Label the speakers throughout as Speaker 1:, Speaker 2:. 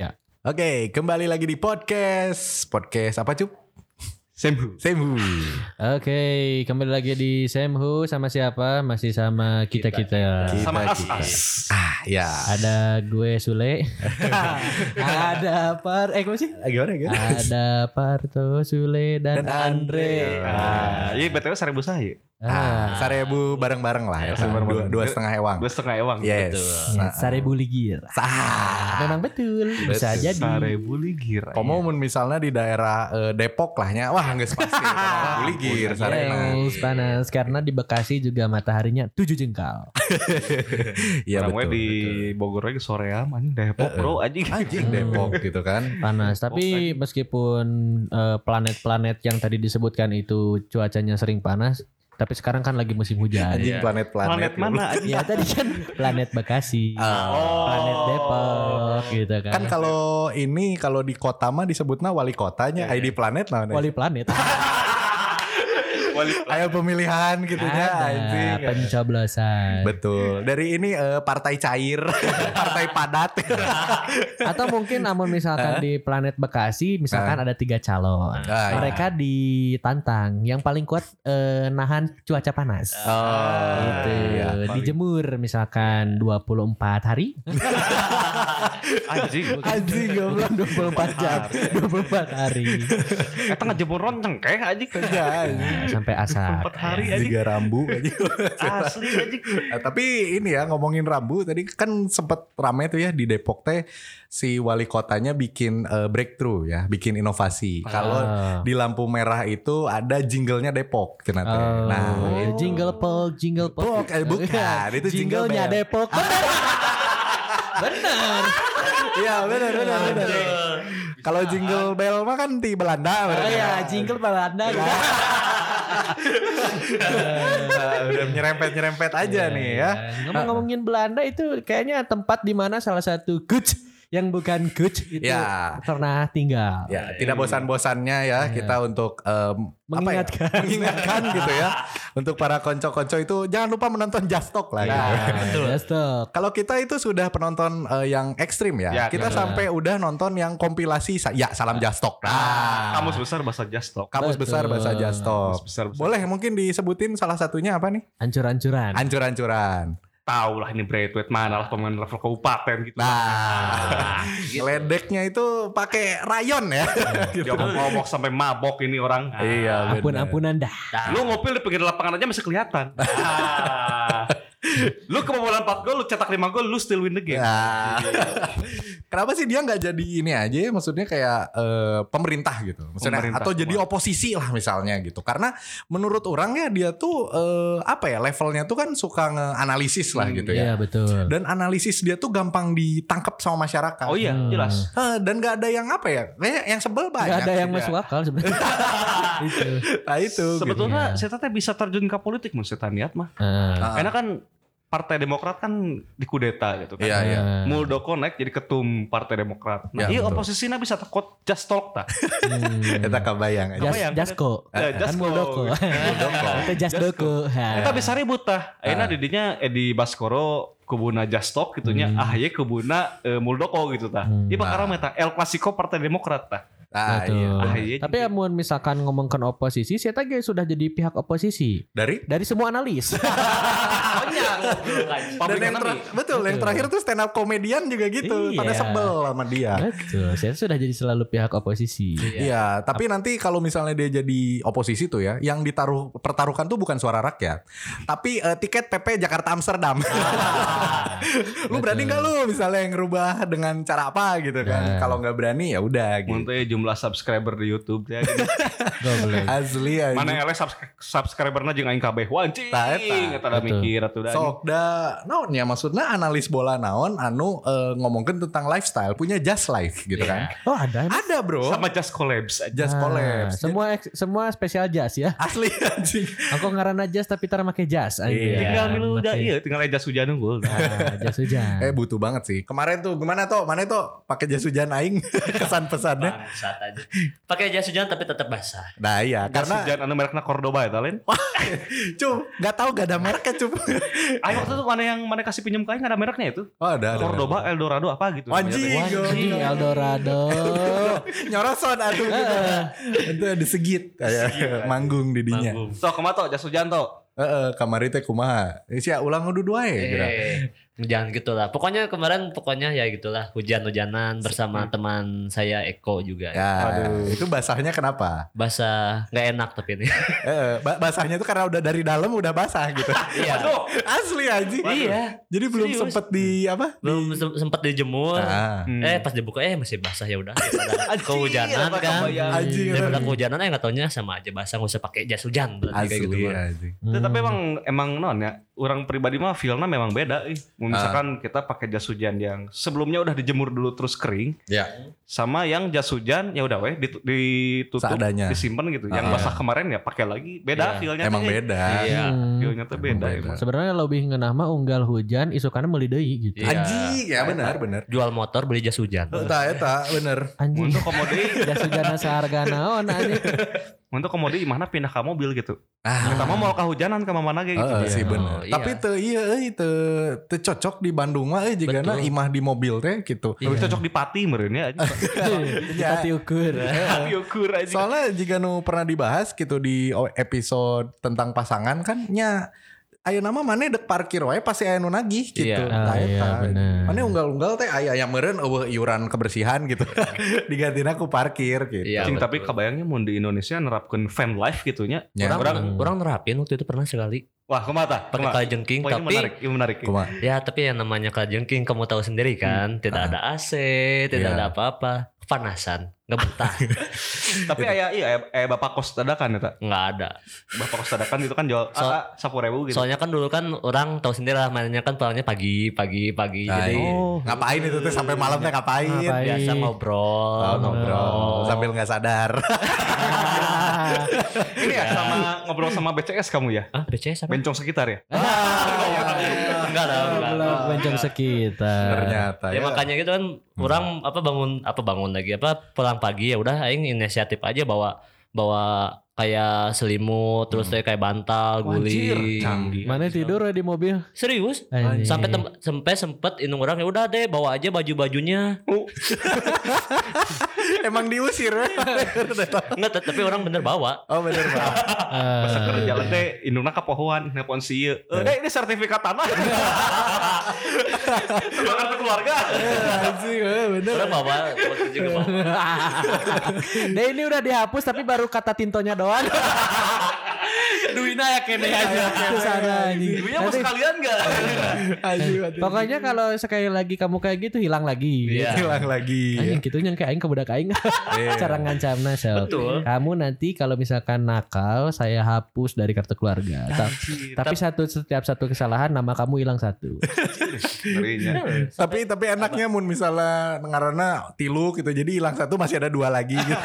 Speaker 1: Ya.
Speaker 2: Oke, kembali lagi di podcast. Podcast apa, Cup?
Speaker 3: Sembu.
Speaker 2: Sembu.
Speaker 1: Oke, kembali lagi di Semhu sama siapa? Masih sama kita kita.
Speaker 2: Kita,
Speaker 3: Sama As
Speaker 2: kita.
Speaker 3: As.
Speaker 2: Ah, ya.
Speaker 1: Ada gue Sule. ada Par, eh apa sih?
Speaker 2: Ah, Gimana, gimana?
Speaker 1: Ada Parto, Sule dan,
Speaker 2: Dan
Speaker 1: Andre.
Speaker 2: Andre.
Speaker 3: Ah, iya BTW seribu saya.
Speaker 1: ya,
Speaker 2: Ah, Sarebu bareng-bareng lah ya. Dua,
Speaker 3: Ah, bareng-bareng.
Speaker 2: dua setengah ewang.
Speaker 3: Gue setengah ewang.
Speaker 2: Yes.
Speaker 1: Ya, Sarebu Ligir.
Speaker 2: Sah.
Speaker 1: Memang betul. Bisa
Speaker 2: Betul.
Speaker 1: jadi.
Speaker 3: Seribu ligir.
Speaker 2: Komo mun misalnya di daerah eh, Depok lahnya, wah nggak pasti. Buli gir sarena.
Speaker 1: Yes, panas karena di Bekasi juga mataharinya tujuh jengkal.
Speaker 2: Iya
Speaker 3: Orang gue
Speaker 2: betul.
Speaker 3: di
Speaker 2: betul. Ah,
Speaker 3: Bogor lagi sore am anjing Depok bro anjing.
Speaker 2: Anjing Depok gitu kan.
Speaker 1: panas.
Speaker 3: Oh,
Speaker 1: Tapi meskipun eh, planet-planet yang tadi disebutkan itu cuacanya sering panas, tapi sekarang kan lagi musim hujan.
Speaker 2: Anjing
Speaker 3: Iya.
Speaker 2: planet-planet. gitu.
Speaker 3: Planet mana anjing?
Speaker 1: ya tadi kan planet Bekasi,
Speaker 2: Ah.
Speaker 1: planet Depok gitu kan.
Speaker 2: Kan kalau ini kalau di kota mah disebutnya wali kotanya
Speaker 3: Iya, iya.
Speaker 2: ID planet lah.
Speaker 1: wali planet.
Speaker 3: Wali-
Speaker 2: Ayo pemilihan gitu
Speaker 1: kan,
Speaker 2: ya
Speaker 1: Ada
Speaker 2: anjing.
Speaker 1: pencoblosan.
Speaker 2: Betul. Dari ini eh, partai cair, partai padat.
Speaker 1: Atau mungkin namun misalkan di planet Bekasi misalkan ada tiga calon.
Speaker 2: Ah, iya.
Speaker 1: Mereka ditantang yang paling kuat eh, nahan cuaca panas.
Speaker 2: Oh,
Speaker 1: Gitu.
Speaker 2: iya.
Speaker 1: Dijemur misalkan 24 hari.
Speaker 3: Anjing.
Speaker 1: Anjing goblok 24 jam 24 hari
Speaker 3: Kita ngejemur ronceng kayak anjing.
Speaker 2: Iya, anjing.
Speaker 1: Nah, Sampai asar
Speaker 3: Empat hari anjing.
Speaker 2: iya Juga rambu anjing.
Speaker 3: Asli anjing.
Speaker 2: Nah, tapi ini ya ngomongin rambu tadi kan sempet rame tuh ya di Depok teh si wali kotanya bikin eh, breakthrough ya, bikin inovasi. Kalau
Speaker 1: Ah.
Speaker 2: di lampu merah itu ada jinglenya Depok cenah teh.
Speaker 1: Oh,
Speaker 2: Nah,
Speaker 1: jingle pol, jingle Iya, pol.
Speaker 2: Bok, eh, bukan, itu jingle
Speaker 1: jinglenya
Speaker 2: bell.
Speaker 1: Depok. Bener.
Speaker 2: iya benar benar benar. Kalau jingle bell mah kan di Belanda. Nah,
Speaker 1: Oh
Speaker 2: bener.
Speaker 1: iya, jingle Belanda gitu.
Speaker 2: Eh, udah nyerempet-nyerempet aja
Speaker 1: Iya,
Speaker 2: nih ya.
Speaker 1: Ngomong-ngomongin Belanda itu kayaknya tempat di mana salah satu coach yang bukan coach itu
Speaker 2: Ya.
Speaker 1: pernah tinggal.
Speaker 2: Ya, tidak bosan-bosannya ya kita untuk em,
Speaker 1: Mengingatkan.
Speaker 2: apa ya? mengingatkan gitu ya. Untuk para konco-konco itu jangan lupa menonton Just Talk lah.
Speaker 1: Nah,
Speaker 2: gitu.
Speaker 1: that's the-
Speaker 2: Kalau kita itu sudah penonton eh, yang ekstrim ya.
Speaker 3: Ya,
Speaker 2: kita
Speaker 3: betul.
Speaker 2: sampai udah nonton yang kompilasi sa- ya salam Jastok. Nah,
Speaker 3: Kamus besar bahasa Jastok.
Speaker 2: kamus
Speaker 1: Betul.
Speaker 2: besar bahasa Jastok.
Speaker 3: Kamus besar bahasa-
Speaker 2: Boleh mungkin disebutin salah satunya apa nih?
Speaker 1: Ancur-ancuran.
Speaker 2: Ancur-ancuran.
Speaker 3: Tahu lah ini Braithwaite mana lah pemain level kabupaten gitu.
Speaker 2: Nah, ledeknya itu pakai rayon ya.
Speaker 3: Dia ngomong sampai mabok ini orang.
Speaker 2: Iya, bener.
Speaker 1: Ampun-ampunan dah.
Speaker 3: Lu ngopil di pinggir lapangan aja masih kelihatan. Ah. lu kebobolan 4 gol, lu cetak 5 gol, lu still win the game.
Speaker 2: Nah. Kenapa sih dia nggak jadi ini aja ya? Maksudnya kayak eh, pemerintah gitu. Maksudnya
Speaker 3: Pemerintah
Speaker 2: atau jadi
Speaker 3: semua.
Speaker 2: oposisi lah misalnya gitu. Karena menurut orangnya dia tuh eh, apa ya levelnya tuh kan suka ngeanalisis lah
Speaker 3: Hmm,
Speaker 2: gitu ya.
Speaker 1: Iya, betul.
Speaker 2: Dan analisis dia tuh gampang ditangkap sama masyarakat.
Speaker 3: Oh iya,
Speaker 1: Hmm.
Speaker 3: jelas.
Speaker 2: Eh, dan nggak ada yang apa ya? Kayak yang sebel banyak.
Speaker 1: Gak ada yang
Speaker 2: sih dia.
Speaker 1: masuk akal sebenarnya. itu.
Speaker 2: Nah, itu. gitu.
Speaker 3: Sebetulnya
Speaker 1: Iya.
Speaker 3: saya teh bisa terjun ke politik mun setan niat mah.
Speaker 1: Ah,
Speaker 2: Ah,
Speaker 3: Karena kan Partai Demokrat kan dikudeta gitu kan.
Speaker 2: Iya, iya.
Speaker 1: ah.
Speaker 3: Muldoko naik jadi ketum Partai Demokrat.
Speaker 2: Ya,
Speaker 3: Nah, iya
Speaker 2: betul.
Speaker 3: oposisinya bisa takut just talk ta.
Speaker 1: Hmm.
Speaker 2: Eta kebayang aja.
Speaker 1: Jas,
Speaker 3: Kebayang.
Speaker 1: Jasko. Kan
Speaker 3: Eh, Jasko.
Speaker 1: Muldoko.
Speaker 2: Muldoko.
Speaker 1: Itu Jasdoko.
Speaker 3: Kita bisa ribut tah. Akhirnya
Speaker 2: Ah.
Speaker 3: didinya Edi Baskoro kubuna just talk gitunya.
Speaker 1: Hmm.
Speaker 3: Ah ya kubuna eh, Muldoko gitu tah.
Speaker 1: Hmm.
Speaker 3: Iya bakal rame tah. El Clasico Partai Demokrat tah.
Speaker 2: Ah, iya.
Speaker 3: Ah, iya
Speaker 1: Tapi
Speaker 3: juga.
Speaker 1: amun misalkan ngomongkan oposisi, saya tadi sudah jadi pihak oposisi
Speaker 2: Dari
Speaker 1: dari semua analis.
Speaker 2: dan yang
Speaker 3: Public
Speaker 2: terakhir, betul,
Speaker 1: Betul.
Speaker 2: yang terakhir tuh stand up komedian juga gitu, pada
Speaker 1: Iya.
Speaker 2: sebel sama dia.
Speaker 1: Betul, saya sudah jadi selalu pihak oposisi.
Speaker 2: Iya, tapi nanti kalau misalnya dia jadi oposisi tuh ya, yang ditaruh pertaruhkan tuh bukan suara rakyat, tapi eh, tiket PP Jakarta Amsterdam.
Speaker 3: Ah.
Speaker 2: lu berani nggak lu misalnya ngerubah dengan cara apa gitu
Speaker 1: Nah.
Speaker 2: kan? Kalau nggak berani ya udah gitu.
Speaker 3: Untuk jumlah subscriber di YouTube ya.
Speaker 1: Goblok.
Speaker 2: Asli aja.
Speaker 3: Mana yang subscriber subscribernya jeung aing kabeh anjing.
Speaker 2: Tah, eta.
Speaker 3: Eta da
Speaker 1: Betul.
Speaker 3: mikir gitu. atuh da.
Speaker 2: Sok da naonnya ya, maksudnya analis bola naon anu eh, ngomongin tentang lifestyle punya just life gitu kan.
Speaker 1: Oh ada. emang?
Speaker 2: Ada bro.
Speaker 3: Iya. sama Nah, just collabs aja.
Speaker 2: just
Speaker 1: Ah,
Speaker 2: collabs.
Speaker 1: semua ex- semua spesial jas ya.
Speaker 2: asli anjing.
Speaker 1: Aku ngarana jas tapi tar make jas.
Speaker 2: Iya.
Speaker 3: Ya,
Speaker 4: Iya,
Speaker 3: Tinggal milu udah iya, tinggal aja jas hujan unggul.
Speaker 1: Ah, jas hujan.
Speaker 2: Eh butuh banget sih. Kemarin tuh gimana tuh? Mana tuh pakai jas hujan aing kesan pesannya?
Speaker 4: Bangsat aja. Pakai jas hujan tapi tetap basah.
Speaker 2: Nah iya
Speaker 3: Karena
Speaker 2: karena
Speaker 3: jangan anu mereknya Cordoba ya talen.
Speaker 2: cum nggak tahu gak ada mereknya cum.
Speaker 3: Ayo waktu itu mana yang mana kasih pinjam kain ada mereknya itu.
Speaker 2: Oh ada ada.
Speaker 3: Cordoba, Eldorado apa gitu.
Speaker 2: Anjing.
Speaker 1: Anjing Eldorado.
Speaker 2: Nyorosan aduh gitu. Itu ada segit Kayak manggung di dinya.
Speaker 4: Manggung.
Speaker 3: So kemato jas hujan toh.
Speaker 2: Heeh, kamari teh kumaha? Eh, Sia ulang udah dua ya kira.
Speaker 4: Eh, jangan gitulah. Pokoknya kemarin pokoknya ya gitulah hujan-hujanan bersama teman saya Eko juga.
Speaker 2: Ya, itu basahnya kenapa?
Speaker 4: Basah nggak enak tapi ini.
Speaker 2: Eh, ba- basahnya itu karena udah dari dalam udah basah gitu.
Speaker 4: Iya.
Speaker 3: Aduh.
Speaker 2: Asli anjing.
Speaker 4: Iya.
Speaker 2: Jadi belum
Speaker 4: Serius.
Speaker 2: sempet di apa?
Speaker 4: Belum sem- sempat dijemur.
Speaker 2: Nah,
Speaker 4: Eh pas dibuka eh masih basah ya udah.
Speaker 3: Anjing,
Speaker 4: Kehujanan
Speaker 3: apa
Speaker 4: kan.
Speaker 3: kebayang.
Speaker 2: anjing.
Speaker 4: Daripada kehujanan ya nggak taunya sama aja basah nggak usah pakai jas hujan berarti kayak gitu.
Speaker 2: Asli ya.
Speaker 4: mah.
Speaker 2: anjing.
Speaker 3: Tuh, Ya, Tapi
Speaker 1: Hmm.
Speaker 3: emang emang non ya, orang pribadi mah feelnya memang beda. Ih. Misalkan kita pakai jas hujan yang sebelumnya udah dijemur dulu terus kering,
Speaker 2: Ya.
Speaker 3: sama yang jas hujan ya udah weh ditu- ditutup,
Speaker 2: Seadanya.
Speaker 3: disimpan gitu. Yang
Speaker 2: Ah.
Speaker 3: basah kemarin ya pakai lagi, beda
Speaker 4: Iya.
Speaker 3: feelnya.
Speaker 2: Emang
Speaker 3: teh.
Speaker 2: beda.
Speaker 4: Iya.
Speaker 1: Hmm.
Speaker 3: Feelnya tuh beda.
Speaker 2: Emang
Speaker 3: emang.
Speaker 1: Sebenarnya lebih ngeunah mah unggal hujan isukannya meuli deui gitu.
Speaker 4: Iya.
Speaker 2: Anjing, ya benar benar.
Speaker 4: Jual motor beli jas hujan.
Speaker 2: Eta eta benar.
Speaker 1: Anjing. Ya
Speaker 3: Untuk komodi,
Speaker 1: Jas hujan seharga naon anjing.
Speaker 3: untuk komodi mana pindah ke mobil gitu.
Speaker 2: Ah.
Speaker 3: Kita mah mau kehujanan ke mana ge gitu.
Speaker 2: Heeh sih
Speaker 4: Iya.
Speaker 2: benar.
Speaker 4: Oh, iya.
Speaker 2: Tapi teu iya euy teu teu cocok di Bandung mah euy jigana
Speaker 4: Betul.
Speaker 2: imah di mobil teh gitu.
Speaker 3: Tapi cocok di pati meureun ya.
Speaker 2: Ya.
Speaker 1: Kita ukur.
Speaker 3: Tapi ukur
Speaker 4: Iya.
Speaker 3: aja.
Speaker 2: Soalnya jika nu pernah dibahas gitu di o- episode tentang pasangan kan nya ayo nama mana dek parkir wae pasti aya nu nagih gitu.
Speaker 4: Iya.
Speaker 2: Nah,
Speaker 1: Ah, iya,
Speaker 2: eta.
Speaker 1: bener.
Speaker 2: Mana unggal-unggal teh aya yang meureun eueuh iuran kebersihan gitu. Digantina ku parkir gitu.
Speaker 4: Iya.
Speaker 3: Cing,
Speaker 4: betul.
Speaker 3: Ya, tapi kebayangnya mau di Indonesia nerapkan fan life gitunya.
Speaker 2: Ya.
Speaker 4: Orang, orang,
Speaker 1: Hmm.
Speaker 4: orang nerapin waktu itu pernah sekali
Speaker 3: Wah, kemata.
Speaker 4: pakai kalajengking
Speaker 3: Wah, ini
Speaker 4: tapi
Speaker 3: menarik, ini menarik.
Speaker 2: Kumaha?
Speaker 4: Ya tapi yang namanya kalajengking kamu tahu sendiri kan,
Speaker 2: Ah.
Speaker 4: tidak ada AC, tidak
Speaker 2: Iya.
Speaker 4: ada apa-apa, kepanasan, nggak betah,
Speaker 3: Tapi
Speaker 4: Gitu.
Speaker 3: ayah iya ayah, ayah bapak kos dadakan ya tak?
Speaker 4: nggak ada.
Speaker 3: Bapak kos dadakan itu kan jual
Speaker 4: So-
Speaker 3: sapu ribu gitu.
Speaker 4: Soalnya kan dulu kan orang tahu sendiri lah mainnya kan pulangnya pagi, pagi, pagi,
Speaker 2: Nah,
Speaker 4: jadi
Speaker 2: iya.
Speaker 1: Oh.
Speaker 2: ngapain itu teh sampai malam teh ngapain?
Speaker 1: Ngapain?
Speaker 4: biasa ngobrol,
Speaker 2: Oh,
Speaker 4: ngobrol.
Speaker 2: ngobrol sambil nggak sadar.
Speaker 1: Ah.
Speaker 3: Ini ya sama ngobrol sama BCS kamu ya?
Speaker 4: Ah, BCS apa?
Speaker 3: Bencong sekitar ya?
Speaker 2: Iya,
Speaker 4: Enggak lah, enggak.
Speaker 1: Belum bencong sekitar.
Speaker 2: Ternyata
Speaker 4: Ya makanya gitu kan
Speaker 2: Hmm.
Speaker 4: orang apa bangun apa bangun lagi apa pulang pagi ya udah aing inisiatif aja bawa bawa kayak selimut terus
Speaker 2: Hmm.
Speaker 4: teh kayak bantal, guling.
Speaker 3: canggih.
Speaker 1: Mana tidur di mobil?
Speaker 4: Serius?
Speaker 1: Anjing.
Speaker 4: Sampai tem- sampai sempet inung orang ya udah deh bawa aja baju-bajunya.
Speaker 2: Ya. emang diusir.
Speaker 4: Enggak, tapi orang bener bawa.
Speaker 2: oh bener Pak.
Speaker 1: Eh,
Speaker 3: Pas ke jalan teh indungna ka pohoan nelpon si ieu. Eh, deh, ini sertifikat tanah. Semangat keluarga.
Speaker 2: Anjing, eh, bener.
Speaker 4: Orang bawa, waktu juga bawa.
Speaker 1: Nah ini udah dihapus tapi baru kata tintonya doang.
Speaker 2: Iya,
Speaker 4: Duina ya kene aja.
Speaker 1: Itu
Speaker 2: iya,
Speaker 1: sana anjing.
Speaker 3: Ibunya mau
Speaker 1: Nanti-
Speaker 3: sekalian enggak?
Speaker 2: Anjing, anjing.
Speaker 1: Pokoknya kalau sekali lagi kamu kayak gitu hilang lagi.
Speaker 4: Iya.
Speaker 2: hilang lagi.
Speaker 1: Anjing gitu yang kayak aing ke budak aing.
Speaker 2: Iya.
Speaker 1: Cara ngancamna sok.
Speaker 4: Betul.
Speaker 1: Kamu nanti kalau misalkan nakal saya hapus dari kartu keluarga.
Speaker 3: Ah,
Speaker 1: Ta- tapi satu setiap satu kesalahan nama kamu hilang satu.
Speaker 3: Ngerinya.
Speaker 2: Tapi tapi enaknya mun misalnya ngarana tilu gitu. Jadi hilang satu masih ada dua lagi gitu.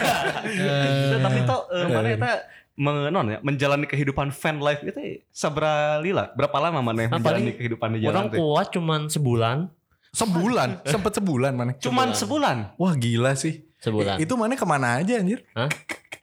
Speaker 3: Nah, tapi toh eh, mana kita mengenon ya menjalani kehidupan fan life itu eh, sabra lila berapa lama mana yang
Speaker 4: Ah,
Speaker 3: menjalani
Speaker 4: paling
Speaker 3: kehidupan di jalan
Speaker 4: Orang
Speaker 3: tuh
Speaker 4: kuat cuman sebulan.
Speaker 2: sebulan, sempet sebulan mana?
Speaker 3: cuman sebulan
Speaker 2: Wah gila sih.
Speaker 4: Sebulan.
Speaker 2: Itu mana kemana aja anjir?
Speaker 4: Hah?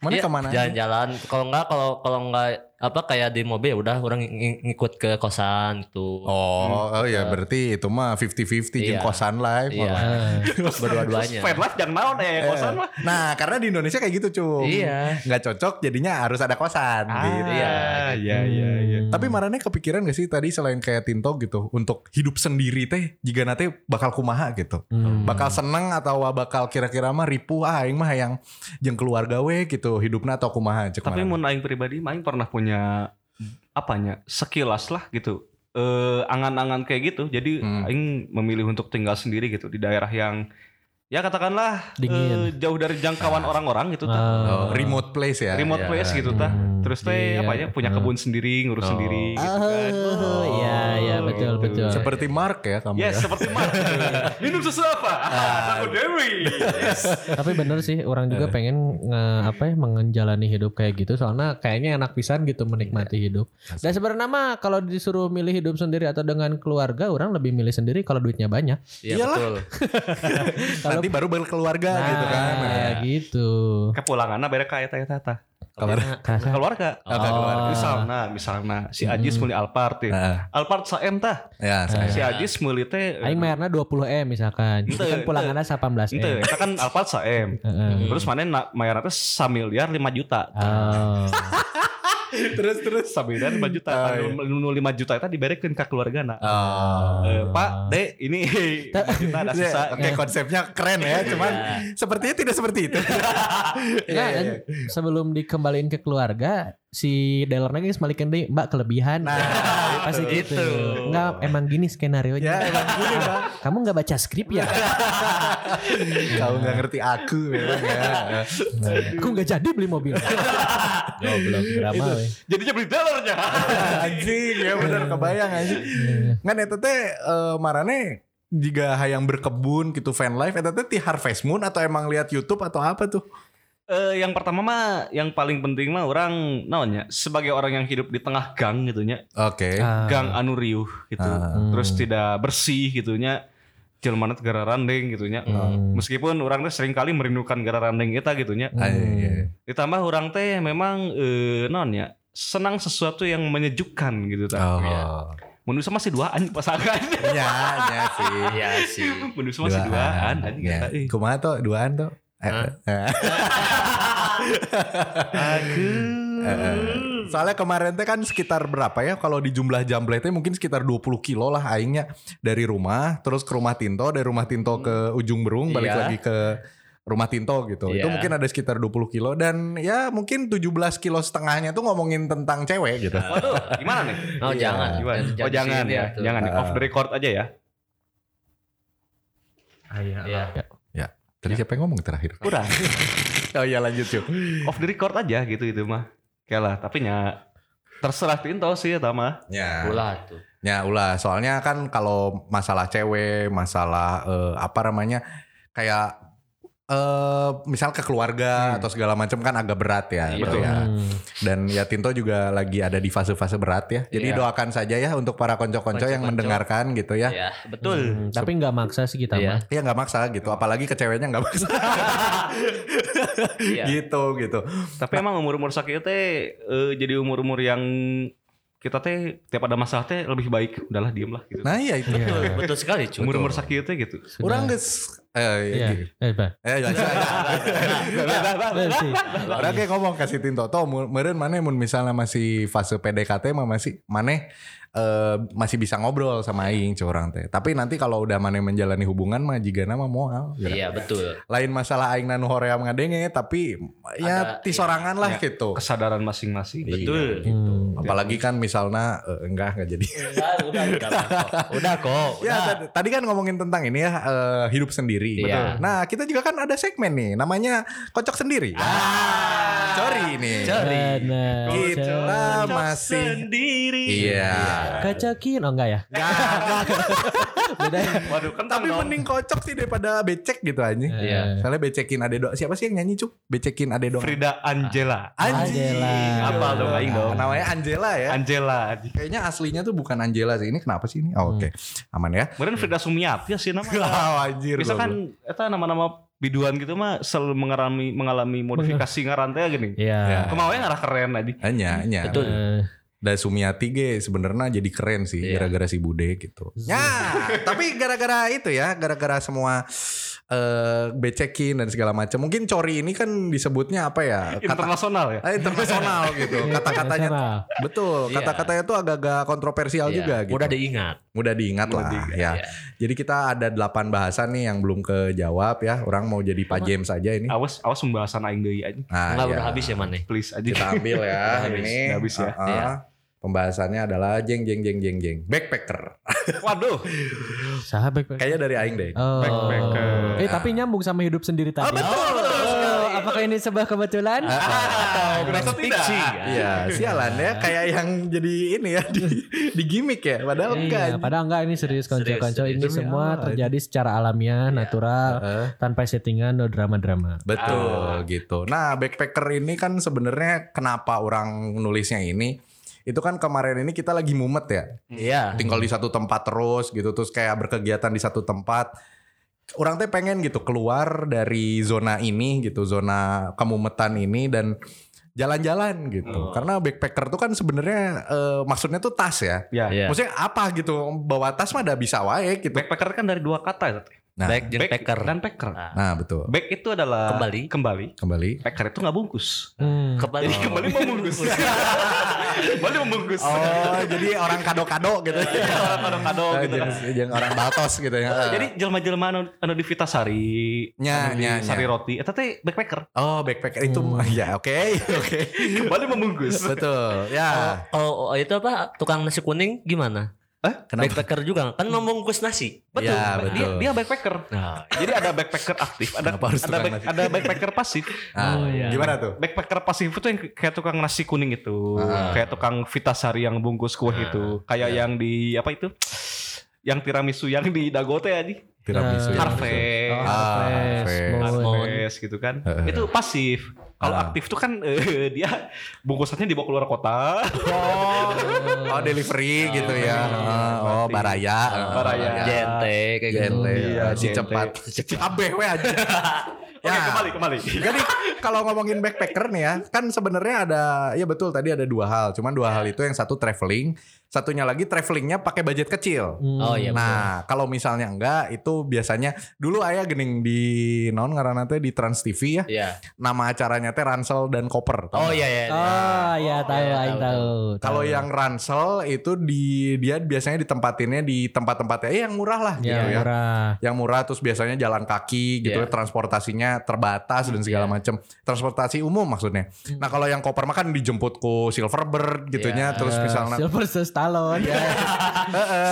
Speaker 2: Mana
Speaker 4: Iya,
Speaker 2: kemana aja?
Speaker 4: Jalan-jalan. Kalau enggak kalau kalau enggak apa kayak di mobil ya udah orang ng- ngikut ke kosan gitu.
Speaker 2: Oh, oh ya berarti itu mah 50-50 jeung
Speaker 4: Iya.
Speaker 2: kosan live.
Speaker 4: Iya. Berdua-duanya.
Speaker 3: fan life jangan naon eh kosan mah
Speaker 2: Nah, karena di Indonesia kayak gitu, Cung.
Speaker 4: Iya.
Speaker 2: Nggak cocok jadinya harus ada kosan
Speaker 1: Ah,
Speaker 2: gitu.
Speaker 4: iya.
Speaker 3: iya iya iya
Speaker 1: Hmm.
Speaker 2: Tapi marane kepikiran gak sih tadi selain kayak Tinto gitu untuk hidup sendiri teh jika nanti bakal kumaha gitu.
Speaker 1: Hmm.
Speaker 2: Bakal seneng atau bakal kira-kira mah ripuh ah aing mah yang jeung keluarga we gitu hidupna atau kumaha cek
Speaker 3: tapi
Speaker 2: marane.
Speaker 3: mun aing pribadi mah aing pernah punya apanya sekilas lah gitu eh angan-angan kayak gitu jadi
Speaker 2: Hmm.
Speaker 3: aing memilih untuk tinggal sendiri gitu di daerah yang ya katakanlah
Speaker 1: Dingin.
Speaker 3: eh, jauh dari jangkauan orang-orang gitu tah.
Speaker 2: Oh, remote place ya.
Speaker 3: remote
Speaker 4: Iya.
Speaker 3: place gitu tah
Speaker 1: Hmm.
Speaker 3: Terus teh
Speaker 1: Iya.
Speaker 3: apa ya punya kebun sendiri, ngurus
Speaker 4: Oh.
Speaker 3: sendiri gitu kan.
Speaker 1: Oh, iya iya betul betul.
Speaker 2: Gitu. Seperti Mark ya kamu
Speaker 3: Yes,
Speaker 2: ya.
Speaker 3: seperti Mark. Minum susu apa? Ah, Sago Dewi. Yes.
Speaker 1: Tapi bener sih orang
Speaker 3: Eh.
Speaker 1: juga pengen nge- apa ya menjalani hidup kayak gitu soalnya kayaknya enak pisan gitu menikmati
Speaker 3: Iya.
Speaker 1: hidup. Dan sebenarnya mah kalau disuruh milih hidup sendiri atau dengan keluarga orang lebih milih sendiri kalau duitnya banyak.
Speaker 4: Iya
Speaker 2: Iyalah.
Speaker 4: betul.
Speaker 1: Kalau-
Speaker 2: Nanti baru berkeluarga gitu kan.
Speaker 1: Nah, gitu.
Speaker 3: Kepulangannya beda kayak teh tata.
Speaker 2: Kamar.
Speaker 1: Kasar.
Speaker 3: Keluarga.
Speaker 2: Oh, Nah. ke keluarga.
Speaker 3: Misalnya, misalnya si Ajis mulai Alphard ya.
Speaker 2: Heeh.
Speaker 3: Alphard saem tah.
Speaker 2: Ya, saya.
Speaker 1: Nah.
Speaker 3: Si Ajis mulai teh.
Speaker 2: Iya,
Speaker 1: Aing mayarna 20 m misalkan. Jadi
Speaker 3: Ente,
Speaker 1: kan pulangannya 18 m.
Speaker 3: Ente, kita kan Alphard saem. Terus mana na- mayarnya teh samiliar 5 juta.
Speaker 1: Oh.
Speaker 3: terus terus samiliar 5 juta. Anu
Speaker 2: Ah, iya.
Speaker 3: Nu 5 juta itu diberekeun ka keluargana.
Speaker 2: Oh.
Speaker 3: Eh, Pak, Dek, ini 5 juta ada
Speaker 2: Ya,
Speaker 3: sisa.
Speaker 2: Oke konsepnya keren ya, cuman sepertinya tidak seperti itu. Iya,
Speaker 1: Nah, sebelum dikembaliin ke keluarga, si dealer lagi semalikin deh, Mbak kelebihan.
Speaker 2: Nah,
Speaker 1: Pasti gitu.
Speaker 3: gitu.
Speaker 1: Enggak, emang gini skenario
Speaker 2: ya
Speaker 1: nya.
Speaker 2: emang gini Bang.
Speaker 1: Kamu nggak baca skrip ya?
Speaker 2: Iya. Kau nggak ngerti aku memang ya.
Speaker 1: Aku nggak jadi beli mobil. Goblok, drama weh.
Speaker 3: Jadinya beli dolarnya.
Speaker 2: anjing ya benar kebayang anjing. Ngan eta teh eh, marane jika hayang berkebun gitu fan life eta teh ti Harvest Moon atau emang lihat YouTube atau apa tuh?
Speaker 3: Eh, yang pertama mah yang paling penting mah orang naonnya sebagai orang yang hidup di tengah gang gitu nya,
Speaker 2: Oke.
Speaker 1: Ah,
Speaker 3: gang anu riuh gitu.
Speaker 2: Ah.
Speaker 3: Terus tidak bersih gitu nya. Jelmana teh gara randeng gitu nya.
Speaker 1: Hmm.
Speaker 3: Meskipun orang teh sering kali merindukan gara randeng eta gitu nya.
Speaker 2: Ah, iya, iya.
Speaker 3: Ditambah orang teh memang eh, naonnya senang sesuatu yang menyejukkan gitu tah.
Speaker 2: Oh.
Speaker 3: Ya. Menusa masih duaan pasangan.
Speaker 2: Ya, ya sih.
Speaker 4: Iya sih.
Speaker 3: Menusa masih duaan anjing
Speaker 2: Ya.
Speaker 3: eta, eh. ih.
Speaker 2: Kumaha tuh duaan tuh? Eh, eh.
Speaker 3: Aku.
Speaker 2: Eh, Soalnya kemarin teh kan sekitar berapa ya kalau di jumlah jambletnya mungkin sekitar 20 kilo lah aingnya dari rumah terus ke rumah Tinto dari rumah Tinto ke ujung Berung balik
Speaker 4: Iya.
Speaker 2: lagi ke rumah Tinto gitu. Itu
Speaker 4: Iya.
Speaker 2: mungkin ada sekitar 20 kilo dan ya mungkin 17 kilo setengahnya tuh ngomongin tentang cewek gitu.
Speaker 3: Waduh, gimana nih?
Speaker 4: Oh
Speaker 2: Iya.
Speaker 4: jangan.
Speaker 3: Gimana?
Speaker 4: Jangan
Speaker 3: oh jangan
Speaker 4: disini
Speaker 3: ya,
Speaker 4: tuh.
Speaker 3: jangan ya. Off the record aja ya.
Speaker 4: Iya.
Speaker 2: Tadi siapa yang ngomong terakhir?
Speaker 3: Kurang.
Speaker 2: Oh iya lanjut yuk.
Speaker 3: off the record aja gitu itu mah. Oke lah, tapi nya terserah Tinto sih eta mah.
Speaker 2: Ya.
Speaker 4: Ulah tuh.
Speaker 2: Ya ulah, soalnya kan kalau masalah cewek, masalah eh, apa namanya kayak eh misal ke keluarga atau segala macam kan agak berat ya.
Speaker 4: Hmm. Iya.
Speaker 2: gitu
Speaker 3: Betul.
Speaker 2: ya.
Speaker 1: hmm.
Speaker 2: Dan ya Tinto juga lagi ada di fase-fase berat ya. Jadi
Speaker 3: Iya.
Speaker 2: doakan saja ya untuk para konco-konco yang
Speaker 4: Konco-konco.
Speaker 2: mendengarkan gitu ya.
Speaker 4: Iya betul.
Speaker 1: Hmm, tapi nggak maksa sih kita
Speaker 4: Iya.
Speaker 1: mah.
Speaker 2: Ya nggak maksa gitu, apalagi ke ceweknya nggak maksa
Speaker 4: Iya.
Speaker 2: gitu gitu.
Speaker 3: Tapi emang umur-umur sakit teh eh, jadi umur-umur yang kita teh tiap ada masalah teh lebih baik udahlah diem lah gitu.
Speaker 2: Nah iya itu.
Speaker 4: Betul, betul sekali cuy.
Speaker 3: umur-umur sakit teh gitu.
Speaker 1: Sudah.
Speaker 2: Orang geus eh,
Speaker 1: Iya.
Speaker 2: gitu.
Speaker 1: Eh, Pak.
Speaker 2: eh
Speaker 1: Eh, sih.
Speaker 2: Orang kayak ngomong kasih Tinto, toh mu- meureun mana mun misalnya masih fase PDKT mah masih mana eh, masih bisa ngobrol sama
Speaker 4: Iya.
Speaker 2: aing cuy orang teh. Tapi nanti kalau udah mana menjalani hubungan mah jiga nama moal. gitu.
Speaker 4: Iya betul.
Speaker 2: Lain masalah aing nanu hoream ngadenge tapi ya
Speaker 4: Ada-
Speaker 2: ti sorangan lah
Speaker 3: Iya.
Speaker 2: gitu.
Speaker 3: Kesadaran masing-masing.
Speaker 4: Iya. Betul.
Speaker 1: Hmm.
Speaker 2: Apalagi kan misalnya eh, enggak enggak jadi.
Speaker 4: Udah, udah, udah, kok. udah kok.
Speaker 2: Ya
Speaker 4: Udah.
Speaker 2: tadi, tadi kan ngomongin tentang ini ya eh, hidup sendiri.
Speaker 4: Iya.
Speaker 2: Betul. Nah kita juga kan ada segmen nih namanya kocok sendiri.
Speaker 4: Ah.
Speaker 2: Sorry nih.
Speaker 4: Sorry.
Speaker 1: Bener.
Speaker 2: Kita masih
Speaker 3: sendiri.
Speaker 2: Iya.
Speaker 1: Kacakin oh enggak ya? Beda.
Speaker 4: Iya.
Speaker 1: ya?
Speaker 3: Waduh, kan
Speaker 2: Tapi mending kocok sih daripada becek gitu
Speaker 3: Eh.
Speaker 2: anjing.
Speaker 4: Iya.
Speaker 2: Soalnya becekin ade doang. Siapa sih yang nyanyi cuk? Becekin ade doang.
Speaker 3: Frida Angela.
Speaker 2: Anjing.
Speaker 1: Angela.
Speaker 3: Apal dong aing dong.
Speaker 2: Namanya Angela ya.
Speaker 3: Angela.
Speaker 2: Kayaknya aslinya tuh bukan Angela sih. Ini kenapa sih ini? Oh, Oke. Aman ya.
Speaker 3: Kemarin Frida Sumiati ya sih nama.
Speaker 2: Wah, anjir.
Speaker 3: Bisa Hmm. kan eta nama-nama biduan gitu mah selalu mengalami mengalami modifikasi ngarantea gini.
Speaker 1: Iya.
Speaker 2: Ya.
Speaker 3: Kemauan arah keren tadi.
Speaker 2: Hanya, hanya.
Speaker 4: Betul.
Speaker 1: Eh,
Speaker 2: Dan Sumiati ge sebenarnya jadi keren sih
Speaker 4: Iya.
Speaker 2: gara-gara si Bude gitu. Ya, tapi gara-gara itu ya, gara-gara semua eh becekin dan segala macam. Mungkin cori ini kan disebutnya apa ya? Kata
Speaker 3: Internasional ya.
Speaker 2: eh, internasional gitu. Kata-katanya
Speaker 1: internasional.
Speaker 2: Betul,
Speaker 4: Iya.
Speaker 2: kata-katanya tuh agak-agak kontroversial
Speaker 4: Iya,
Speaker 2: juga gitu.
Speaker 4: Mudah diingat.
Speaker 2: Mudah diingat
Speaker 3: Mudah
Speaker 2: lah
Speaker 3: diingat,
Speaker 2: ya.
Speaker 4: iya.
Speaker 2: Jadi kita ada 8 bahasan nih yang belum kejawab ya. Orang mau jadi Pak James aja ini.
Speaker 3: Awas awas pembahasan aing deui aja.
Speaker 2: Nah,
Speaker 4: Enggak
Speaker 2: ya.
Speaker 4: udah habis ya mana?
Speaker 3: Please aja.
Speaker 2: Kita ambil ya
Speaker 4: Udah habis,
Speaker 2: ini.
Speaker 3: udah habis ya.
Speaker 2: Uh-uh.
Speaker 4: Iya.
Speaker 2: Pembahasannya adalah jeng jeng jeng jeng jeng backpacker.
Speaker 3: Waduh.
Speaker 1: Sahabat.
Speaker 2: Kayaknya dari aing deh.
Speaker 1: Oh.
Speaker 3: Backpacker.
Speaker 1: Eh tapi nyambung sama hidup sendiri tadi.
Speaker 2: betul, betul
Speaker 1: Oh,
Speaker 2: sekali.
Speaker 1: apa Apakah ini sebuah kebetulan?
Speaker 4: Ah, Atau
Speaker 2: Kenapa
Speaker 4: match
Speaker 2: Ah, tidak?
Speaker 4: fixing ya?
Speaker 2: Iya, sialan ya kayak yang jadi ini ya di, di gimmick ya, padahal enggak.
Speaker 1: Iya, padahal enggak ini serius konco-konco ini
Speaker 4: serius.
Speaker 2: Demi
Speaker 1: semua
Speaker 2: Allah.
Speaker 1: terjadi secara alamiah, natural,
Speaker 2: Iya. Heeh.
Speaker 1: tanpa settingan, no drama-drama.
Speaker 2: Betul
Speaker 4: Ah.
Speaker 2: gitu. Nah, backpacker ini kan sebenarnya kenapa orang nulisnya ini? Itu kan kemarin ini kita lagi mumet ya.
Speaker 4: Iya.
Speaker 2: Tinggal di satu tempat terus gitu terus kayak berkegiatan di satu tempat. Orang teh pengen gitu keluar dari zona ini gitu, zona kemumetan ini dan jalan-jalan gitu. Karena backpacker tuh kan sebenarnya eh, maksudnya tuh tas ya.
Speaker 3: Ya.
Speaker 4: Iya.
Speaker 2: Maksudnya apa gitu? Bawa tas mah ada bisa wae gitu.
Speaker 3: Backpacker kan dari dua kata ya. Teh.
Speaker 2: Nah,
Speaker 4: Back jeung packer.
Speaker 3: dan packer.
Speaker 4: Nah,
Speaker 2: Nah, betul.
Speaker 3: Back itu adalah
Speaker 4: Kembali.
Speaker 3: Kembali.
Speaker 2: Kembali.
Speaker 3: Packer itu nggak bungkus.
Speaker 1: Hmm.
Speaker 4: Kembali.
Speaker 3: Jadi kembali membungkus. kembali membungkus.
Speaker 2: Oh, jadi orang kado-kado gitu.
Speaker 3: Orang kado-kado
Speaker 2: Oh,
Speaker 3: gitu. Ah.
Speaker 2: jangan, jangan orang baltos gitu ya.
Speaker 3: Jadi jelma-jelma anu, anu di Vita Sari,
Speaker 2: Nya,
Speaker 3: anu di
Speaker 2: nya, nya.
Speaker 3: Sari Roti, eta teh backpacker.
Speaker 2: oh backpacker itu ya oke oke
Speaker 3: Kembali membungkus.
Speaker 2: betul ya
Speaker 4: Oh, oh, itu apa? Tukang nasi kuning gimana?
Speaker 2: kenapa
Speaker 4: Backpacker juga kan membungkus nasi.
Speaker 3: Betul.
Speaker 2: Ya,
Speaker 3: Dia,
Speaker 2: betul.
Speaker 3: dia backpacker.
Speaker 4: Nah,
Speaker 3: Jadi ada backpacker aktif, ada
Speaker 2: Kenapa harus
Speaker 3: ada,
Speaker 2: tukang
Speaker 3: back-
Speaker 2: nasi?
Speaker 3: ada backpacker pasif.
Speaker 2: Ah,
Speaker 4: Oh, iya.
Speaker 2: gimana tuh
Speaker 3: Backpacker pasif itu yang kayak tukang nasi kuning itu,
Speaker 2: Ah. Iya.
Speaker 3: kayak tukang Vitasari yang bungkus kue itu, kayak yang di apa itu? Yang tiramisu yang di Dagote aja,
Speaker 2: tiramisu ya.
Speaker 3: Harvest.
Speaker 1: Oh,
Speaker 2: Ah,
Speaker 1: face,
Speaker 2: face.
Speaker 1: mood.
Speaker 3: Harvest gitu kan. Itu pasif. Kalau
Speaker 2: Ah.
Speaker 3: aktif tuh kan eh, dia bungkusannya dibawa keluar kota.
Speaker 2: oh delivery gitu ya Ah, oh baraya Ah,
Speaker 3: Baraya. Ya.
Speaker 4: jente kayak gitu.
Speaker 2: jente
Speaker 3: Iya,
Speaker 2: si
Speaker 3: jente.
Speaker 2: cepat abeh we aja Ya.
Speaker 3: Oke, kembali kembali.
Speaker 2: Jadi kalau ngomongin backpacker nih ya, kan sebenarnya ada ya betul tadi ada dua hal. Cuman dua hal itu yang satu traveling, satunya lagi travelingnya pakai budget kecil.
Speaker 1: Hmm,
Speaker 4: Oh iya.
Speaker 2: Nah, kalau misalnya enggak itu biasanya dulu ayah gening di non ngaranna teh di Trans TV ya.
Speaker 4: Iya.
Speaker 2: Nama acaranya teh Ransel dan Koper. tau
Speaker 4: Oh
Speaker 2: nggak?
Speaker 4: iya iya.
Speaker 1: Oh, ya tahu,
Speaker 4: iya,
Speaker 1: aing
Speaker 4: tahu,
Speaker 1: tahu.
Speaker 2: Kalau
Speaker 1: tahu.
Speaker 2: yang Ransel itu di dia biasanya ditempatinnya di tempat-tempatnya eh, yang murah lah
Speaker 1: ya,
Speaker 2: gitu ya.
Speaker 1: murah.
Speaker 2: Yang murah terus biasanya jalan kaki gitu ya,
Speaker 4: Iya.
Speaker 2: transportasinya terbatas dan segala macam. Transportasi umum maksudnya. Nah, kalau yang Koper mah kan dijemput ku Silverbird gitunya
Speaker 4: Iya.
Speaker 2: terus
Speaker 1: Eh,
Speaker 2: misalnya Iya.
Speaker 1: Silver Star Stallone.
Speaker 2: Heeh,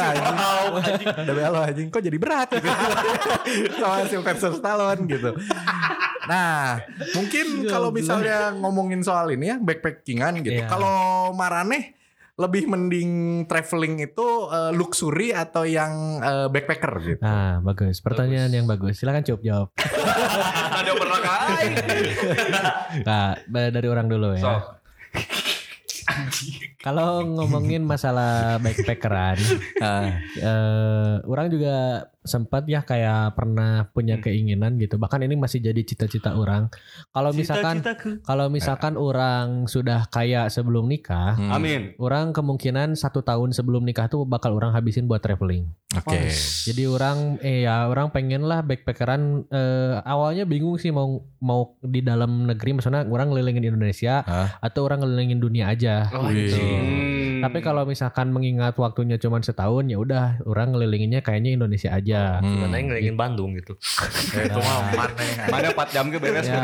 Speaker 2: anjing. Demi Allah anjing kok jadi berat gitu. Sama Sylvester Stallone gitu. Nah, mungkin kalau misalnya ngomongin soal ini ya backpackingan gitu.
Speaker 1: Iya.
Speaker 2: Kalau Maraneh lebih mending traveling itu eh, luxury atau yang eh, backpacker gitu.
Speaker 1: Nah, bagus. Pertanyaan yang bagus. Silakan cukup jawab.
Speaker 3: Ada berangkai.
Speaker 1: Nah, ba- dari orang dulu ya.
Speaker 3: So.
Speaker 1: Kalau ngomongin masalah backpackeran, ah, eh, orang juga sempat ya kayak pernah punya keinginan gitu. Bahkan ini masih jadi cita-cita orang. Kalau misalkan kalau misalkan orang sudah kaya sebelum nikah,
Speaker 2: Hmm,
Speaker 3: Amin.
Speaker 1: orang kemungkinan satu tahun sebelum nikah tuh bakal orang habisin buat traveling.
Speaker 2: Oke.
Speaker 1: Jadi orang eh ya orang pengen lah backpackeran eh, awalnya bingung sih mau mau di dalam negeri maksudnya orang ngelilingin Indonesia
Speaker 2: Hah?
Speaker 1: atau orang ngelilingin dunia aja
Speaker 4: Oh,
Speaker 1: gitu.
Speaker 2: anjing.
Speaker 3: Hmm.
Speaker 1: Tapi kalau misalkan mengingat waktunya cuma setahun ya udah orang ngelilinginnya kayaknya Indonesia aja.
Speaker 2: Hmm.
Speaker 4: Mana yang ngelingin Bandung gitu.
Speaker 2: Eh, itu mah maneh, anjing.
Speaker 3: Mana 4 jam ke beres
Speaker 1: Ya.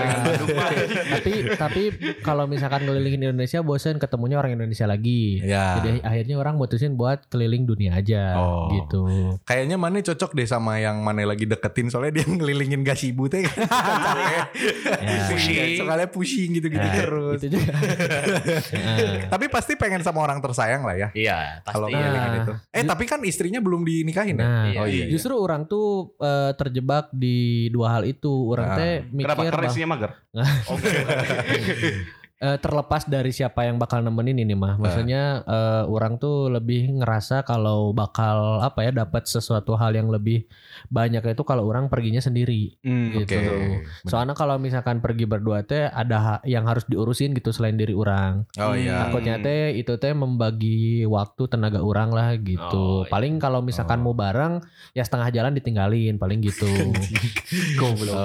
Speaker 1: tapi tapi kalau misalkan ngelilingin Indonesia bosen ketemunya orang Indonesia lagi.
Speaker 2: Ya.
Speaker 1: Jadi akhirnya orang mutusin buat keliling dunia aja
Speaker 2: Oh.
Speaker 1: gitu.
Speaker 2: Kayaknya Mane cocok deh sama yang Mane lagi deketin soalnya dia ngelilingin gasibu teh kan.
Speaker 1: Ya.
Speaker 2: Pusing. Iya, Soalnya pusing gitu-gitu
Speaker 1: Nah,
Speaker 2: terus.
Speaker 1: Itu juga. Nah.
Speaker 2: Tapi pasti pengen sama orang tersayang lah ya.
Speaker 4: Iya, pasti.
Speaker 2: Kalau
Speaker 4: Iya.
Speaker 2: ngelilingin itu. Eh tapi kan istrinya belum dinikahin ya.
Speaker 1: Nah,
Speaker 4: Iya,
Speaker 2: oh iya.
Speaker 1: Justru orang tuh eh, terjebak di dua hal itu. Orang
Speaker 2: Ah.
Speaker 1: teh mikir
Speaker 3: Kenapa? Karena
Speaker 1: bah-
Speaker 3: isinya mager.
Speaker 1: eh, terlepas dari siapa yang bakal nemenin ini
Speaker 2: Ah.
Speaker 1: mah. Maksudnya eh, orang tuh lebih ngerasa kalau bakal apa ya dapat sesuatu hal yang lebih banyak itu kalau orang perginya sendiri.
Speaker 2: Oke.
Speaker 1: gitu. Soalnya kalau misalkan pergi berdua teh ada ha- yang harus diurusin gitu selain diri orang.
Speaker 2: Oh
Speaker 1: hmm,
Speaker 2: iya.
Speaker 1: Takutnya teh itu teh membagi waktu tenaga orang lah gitu.
Speaker 4: Oh, iya.
Speaker 1: Paling kalau misalkan mau bareng ya setengah jalan ditinggalin paling gitu.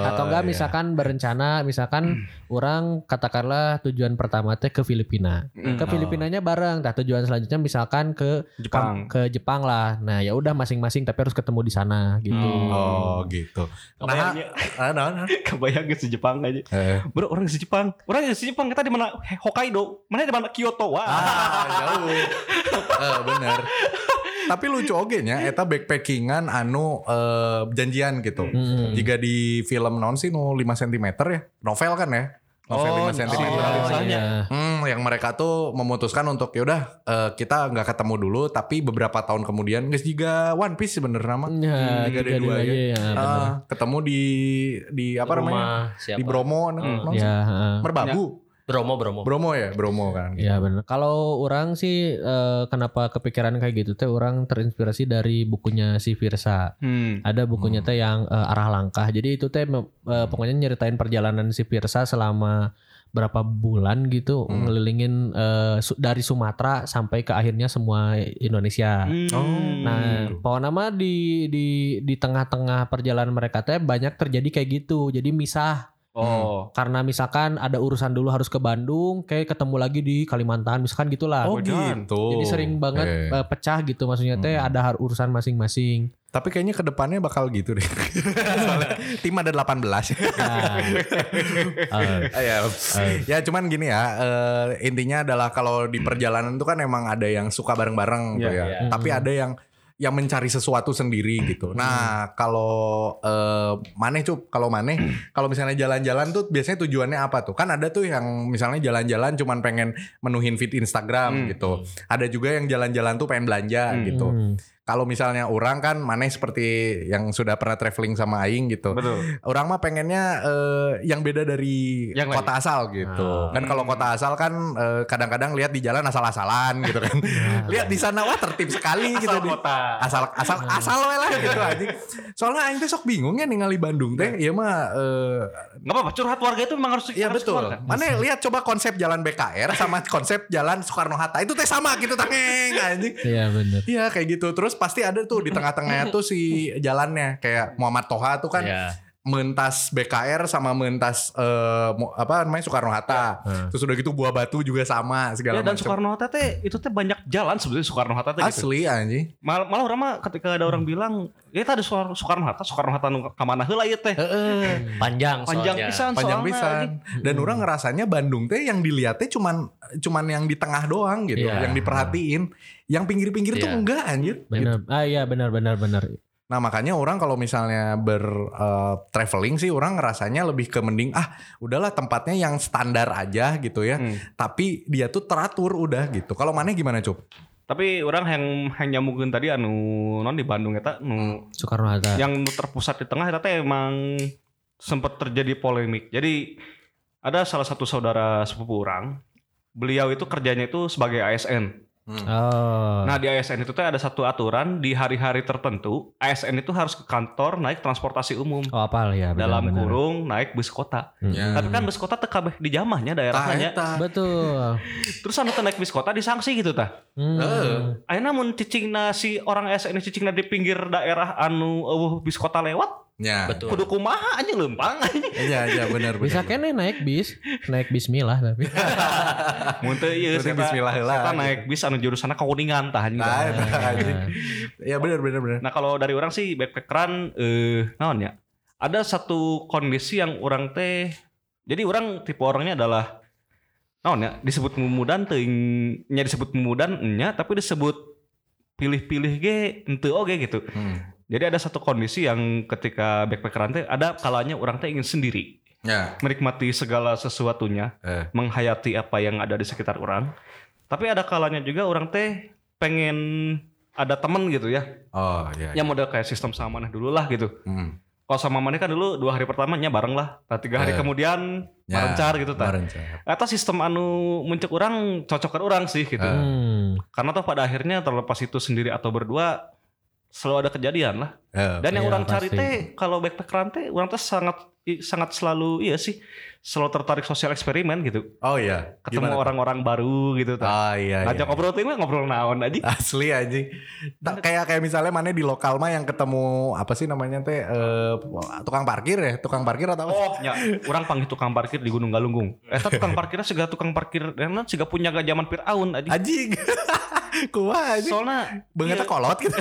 Speaker 1: Atau enggak
Speaker 2: Oh, iya.
Speaker 1: misalkan berencana misalkan orang katakanlah tujuan pertama teh ke Filipina. Ke
Speaker 2: Oh.
Speaker 1: Filipinanya bareng. Nah, tujuan selanjutnya misalkan ke
Speaker 3: Jepang.
Speaker 1: ke Jepang lah. Nah, ya udah masing-masing tapi harus ketemu di sana gitu.
Speaker 2: Oh gitu.
Speaker 1: ya?
Speaker 2: Nah,
Speaker 3: Kebayangnya-
Speaker 2: nah, nah, nah.
Speaker 3: Kebayang ke si Jepang aja.
Speaker 2: Eh.
Speaker 3: Bro, orang si Jepang. Orang si Jepang kita di mana? He- Hokkaido. Mana di mana Kyoto. Wah.
Speaker 2: Ah, jauh. Eh, bener. tapi lucu oge nya eta backpackingan anu eh, janjian gitu.
Speaker 1: Hmm.
Speaker 2: Jika di film non sih nu 5 cm ya. Novel kan ya. Novel
Speaker 3: Oh,
Speaker 2: 5
Speaker 3: si-
Speaker 2: cm.
Speaker 3: oh,
Speaker 1: Misalnya.
Speaker 2: Hmm, yang mereka tuh memutuskan untuk yaudah eh, kita nggak ketemu dulu tapi beberapa tahun kemudian guys juga One Piece sebenarnya mah
Speaker 1: Ya,
Speaker 2: Hmm,
Speaker 1: tiga
Speaker 2: tiga ada
Speaker 1: dua
Speaker 2: dua
Speaker 1: aja, ya, benar.
Speaker 2: Ah, ketemu di di apa namanya
Speaker 4: Rumah siapa?
Speaker 2: di Bromo nah,
Speaker 3: Hmm.
Speaker 2: non sih?
Speaker 1: Ya, heeh.
Speaker 2: Merbabu
Speaker 4: Bromo, Bromo.
Speaker 2: Bromo ya Bromo kan
Speaker 1: Ya benar. Kalau orang sih eh, kenapa kepikiran kayak gitu teh orang terinspirasi dari bukunya si Virsa.
Speaker 3: Hmm.
Speaker 1: Ada bukunya
Speaker 2: Hmm.
Speaker 1: teh yang eh, arah langkah. Jadi itu teh mem- eh, pokoknya nyeritain perjalanan si Virsa selama berapa bulan gitu
Speaker 2: Hmm.
Speaker 1: ngelilingin eh, su- dari Sumatera sampai ke akhirnya semua Indonesia.
Speaker 3: Hmm.
Speaker 2: Oh.
Speaker 1: Nah,
Speaker 2: Hmm.
Speaker 1: pokoknya mah di di di tengah-tengah perjalanan mereka teh banyak terjadi kayak gitu. Jadi misah
Speaker 3: oh.
Speaker 1: karena misalkan ada urusan dulu harus ke Bandung, kayak ketemu lagi di Kalimantan, misalkan gitulah.
Speaker 2: Oh
Speaker 3: Wajan.
Speaker 2: gitu.
Speaker 1: Jadi sering banget
Speaker 2: Eh,
Speaker 1: eh, pecah gitu maksudnya teh
Speaker 2: Hmm.
Speaker 1: ada har- urusan masing-masing.
Speaker 2: Tapi kayaknya kedepannya bakal gitu deh. Soalnya tim ada 18.
Speaker 1: Nah, eh,
Speaker 2: ya, ya cuman gini ya. eh, intinya adalah kalau di perjalanan itu kan emang ada yang suka bareng-bareng gitu
Speaker 3: Iya,
Speaker 2: ya.
Speaker 4: iya.
Speaker 2: Tapi ada yang yang mencari sesuatu
Speaker 3: Hmm.
Speaker 2: sendiri gitu. Nah, kalau eh, maneh cup, kalau maneh
Speaker 3: Hmm.
Speaker 2: kalau misalnya jalan-jalan tuh biasanya tujuannya apa tuh? Kan ada tuh yang misalnya jalan-jalan cuman pengen menuhin feed Instagram
Speaker 3: Hmm.
Speaker 2: gitu. Ada juga yang jalan-jalan tuh pengen belanja
Speaker 3: Hmm.
Speaker 2: gitu.
Speaker 1: hmm.
Speaker 2: kalau misalnya orang kan maneh seperti yang sudah pernah traveling sama aing gitu.
Speaker 3: Betul.
Speaker 2: Orang mah pengennya eh, yang beda dari
Speaker 3: Yang lain.
Speaker 2: kota asal gitu.
Speaker 4: Ah.
Speaker 2: Kan kalau kota asal kan eh, kadang-kadang lihat di jalan asal-asalan gitu kan. lihat di sana wah tertib sekali gitu. di-
Speaker 3: kota.
Speaker 2: asal asal asal we lah gitu anjing. Soalnya aing teh sok bingung ya ningali Bandung teh. Iya mah eh,
Speaker 3: Nggak apa-apa curhat warga itu memang harus
Speaker 2: Iya
Speaker 3: harus kan?
Speaker 2: betul.
Speaker 3: keluarkan.
Speaker 2: Mana lihat coba konsep jalan BKR sama konsep jalan Soekarno Hatta itu teh sama gitu tangeng anjing.
Speaker 1: Iya benar.
Speaker 2: Iya kayak gitu. Terus pasti ada tuh di tengah-tengahnya tuh si jalannya kayak Muhammad Toha tuh kan
Speaker 4: Iya.
Speaker 2: mentas BKR sama mentas eh, mo- apa namanya Soekarno Hatta. Terus udah gitu buah batu juga sama segala
Speaker 3: Ya, Iya. dan
Speaker 2: macam.
Speaker 3: Soekarno Hatta teh itu teh banyak jalan sebenarnya Soekarno Hatta teh gitu.
Speaker 2: Asli Hmm. anjing.
Speaker 3: Mal- malah orang mah ketika ada orang bilang, "Ya tadi Soekarno Hatta, Soekarno Hatta nu ka mana heula ieu teh?"
Speaker 2: Hmm.
Speaker 4: Panjang,
Speaker 3: Panjang
Speaker 4: soalnya.
Speaker 3: pisan
Speaker 2: Panjang
Speaker 3: soalnya, gitu. anjing.
Speaker 2: pisan. Dan orang ngerasanya Bandung teh yang dilihatnya cuman cuman yang di tengah doang gitu,
Speaker 4: Iya.
Speaker 2: yang diperhatiin. Yang pinggir-pinggir tuh
Speaker 4: Iya.
Speaker 2: enggak anjir.
Speaker 1: Benar.
Speaker 2: Gitu.
Speaker 1: Ah iya benar benar benar.
Speaker 2: Nah makanya orang kalau misalnya ber eh, traveling sih orang ngerasanya lebih ke mending ah udahlah tempatnya yang standar aja gitu ya.
Speaker 3: Hmm.
Speaker 2: Tapi dia tuh teratur udah gitu. Kalau mana gimana cup?
Speaker 3: Tapi orang yang yang nyamukeun tadi anu non di Bandung eta
Speaker 2: Hmm.
Speaker 3: nu
Speaker 1: Soekarno Hatta.
Speaker 3: yang nu terpusat di tengah eta teh emang sempat terjadi polemik. Jadi ada salah satu saudara sepupu orang, beliau itu kerjanya itu sebagai ASN.
Speaker 1: Oh.
Speaker 3: Nah, di ASN itu teh ada satu aturan di hari-hari tertentu, ASN itu harus ke kantor naik transportasi umum.
Speaker 1: oh apal ya benar,
Speaker 3: dalam
Speaker 1: benar.
Speaker 3: kurung naik bus kota.
Speaker 1: Hmm.
Speaker 2: Ya.
Speaker 3: Tapi kan bus kota teh kabeh di jamahnya daerahnya.
Speaker 2: Eta.
Speaker 1: betul.
Speaker 3: Terus anu teh naik bus kota disangsi gitu tah.
Speaker 1: Hmm.
Speaker 2: Heeh.
Speaker 3: Ayeuna mun cicingna si orang SN cicingna di pinggir daerah anu eueuh bis kota lewat,
Speaker 2: Ya.
Speaker 4: Betul.
Speaker 3: kudu kumaha anjing lempang anjing.
Speaker 2: Iya iya benar benar.
Speaker 1: Bisa kan? kene naik bis, naik bismillah tapi.
Speaker 3: Mun teu ieu
Speaker 2: Berarti
Speaker 3: saya
Speaker 2: bismillah heula.
Speaker 3: Iya, naik bis anu jurusanna ka Kuningan tah anjing.
Speaker 2: Nah, eta, anjing. Ya benar benar benar.
Speaker 3: Nah, kalau dari orang sih backpackeran eh naon ya? Ada satu kondisi yang orang teh jadi orang tipe orangnya adalah naon ya disebut memudan teuing nya disebut memudan nya tapi disebut pilih-pilih ge ente oge gitu.
Speaker 2: Hmm.
Speaker 3: Jadi ada satu kondisi yang ketika backpackeran teh ada kalanya orang teh ingin sendiri
Speaker 2: Ya.
Speaker 3: menikmati segala sesuatunya,
Speaker 2: Eh.
Speaker 3: menghayati apa yang ada di sekitar orang. Tapi ada kalanya juga orang teh pengen ada temen gitu ya
Speaker 2: Oh ya.
Speaker 3: yang model kayak sistem sama maneh dulu lah gitu.
Speaker 2: Hmm.
Speaker 3: Kalau sama maneh kan dulu dua hari pertamanya bareng lah, Nah, tiga hari
Speaker 2: Eh.
Speaker 3: kemudian
Speaker 2: Ya,
Speaker 3: barencar gitu ta.
Speaker 2: barencar.
Speaker 3: Atau sistem anu muncul orang cocokkan orang sih gitu.
Speaker 2: Eh.
Speaker 1: Hmm.
Speaker 3: Karena tuh pada akhirnya terlepas itu sendiri atau berdua selalu ada kejadian lah.
Speaker 2: Eh,
Speaker 3: Dan
Speaker 1: Iya,
Speaker 3: yang orang cari
Speaker 1: pasti.
Speaker 3: teh kalau backpackeran teh orang teh sangat i- sangat selalu iya sih selalu tertarik sosial eksperimen gitu.
Speaker 2: Oh ya.
Speaker 3: Ketemu
Speaker 2: Gimana?
Speaker 3: orang-orang baru gitu ta.
Speaker 2: Ah iya.
Speaker 3: Ngajak
Speaker 2: iya. Ah.
Speaker 3: ngobrol teh mah ngobrol naon aja.
Speaker 2: Asli anjing. Tak kayak kayak misalnya mana di lokal mah yang ketemu apa sih namanya teh eh, tukang parkir ya, tukang parkir atau apa?
Speaker 3: Oh, ya, orang panggil tukang parkir di Gunung Galunggung. Eta tukang parkirnya segala tukang parkir, karena siga punya gak zaman Fir'aun aja.
Speaker 2: Anjing. Kuah anjing.
Speaker 3: Soalnya,
Speaker 2: Beungeut teh kolot gitu.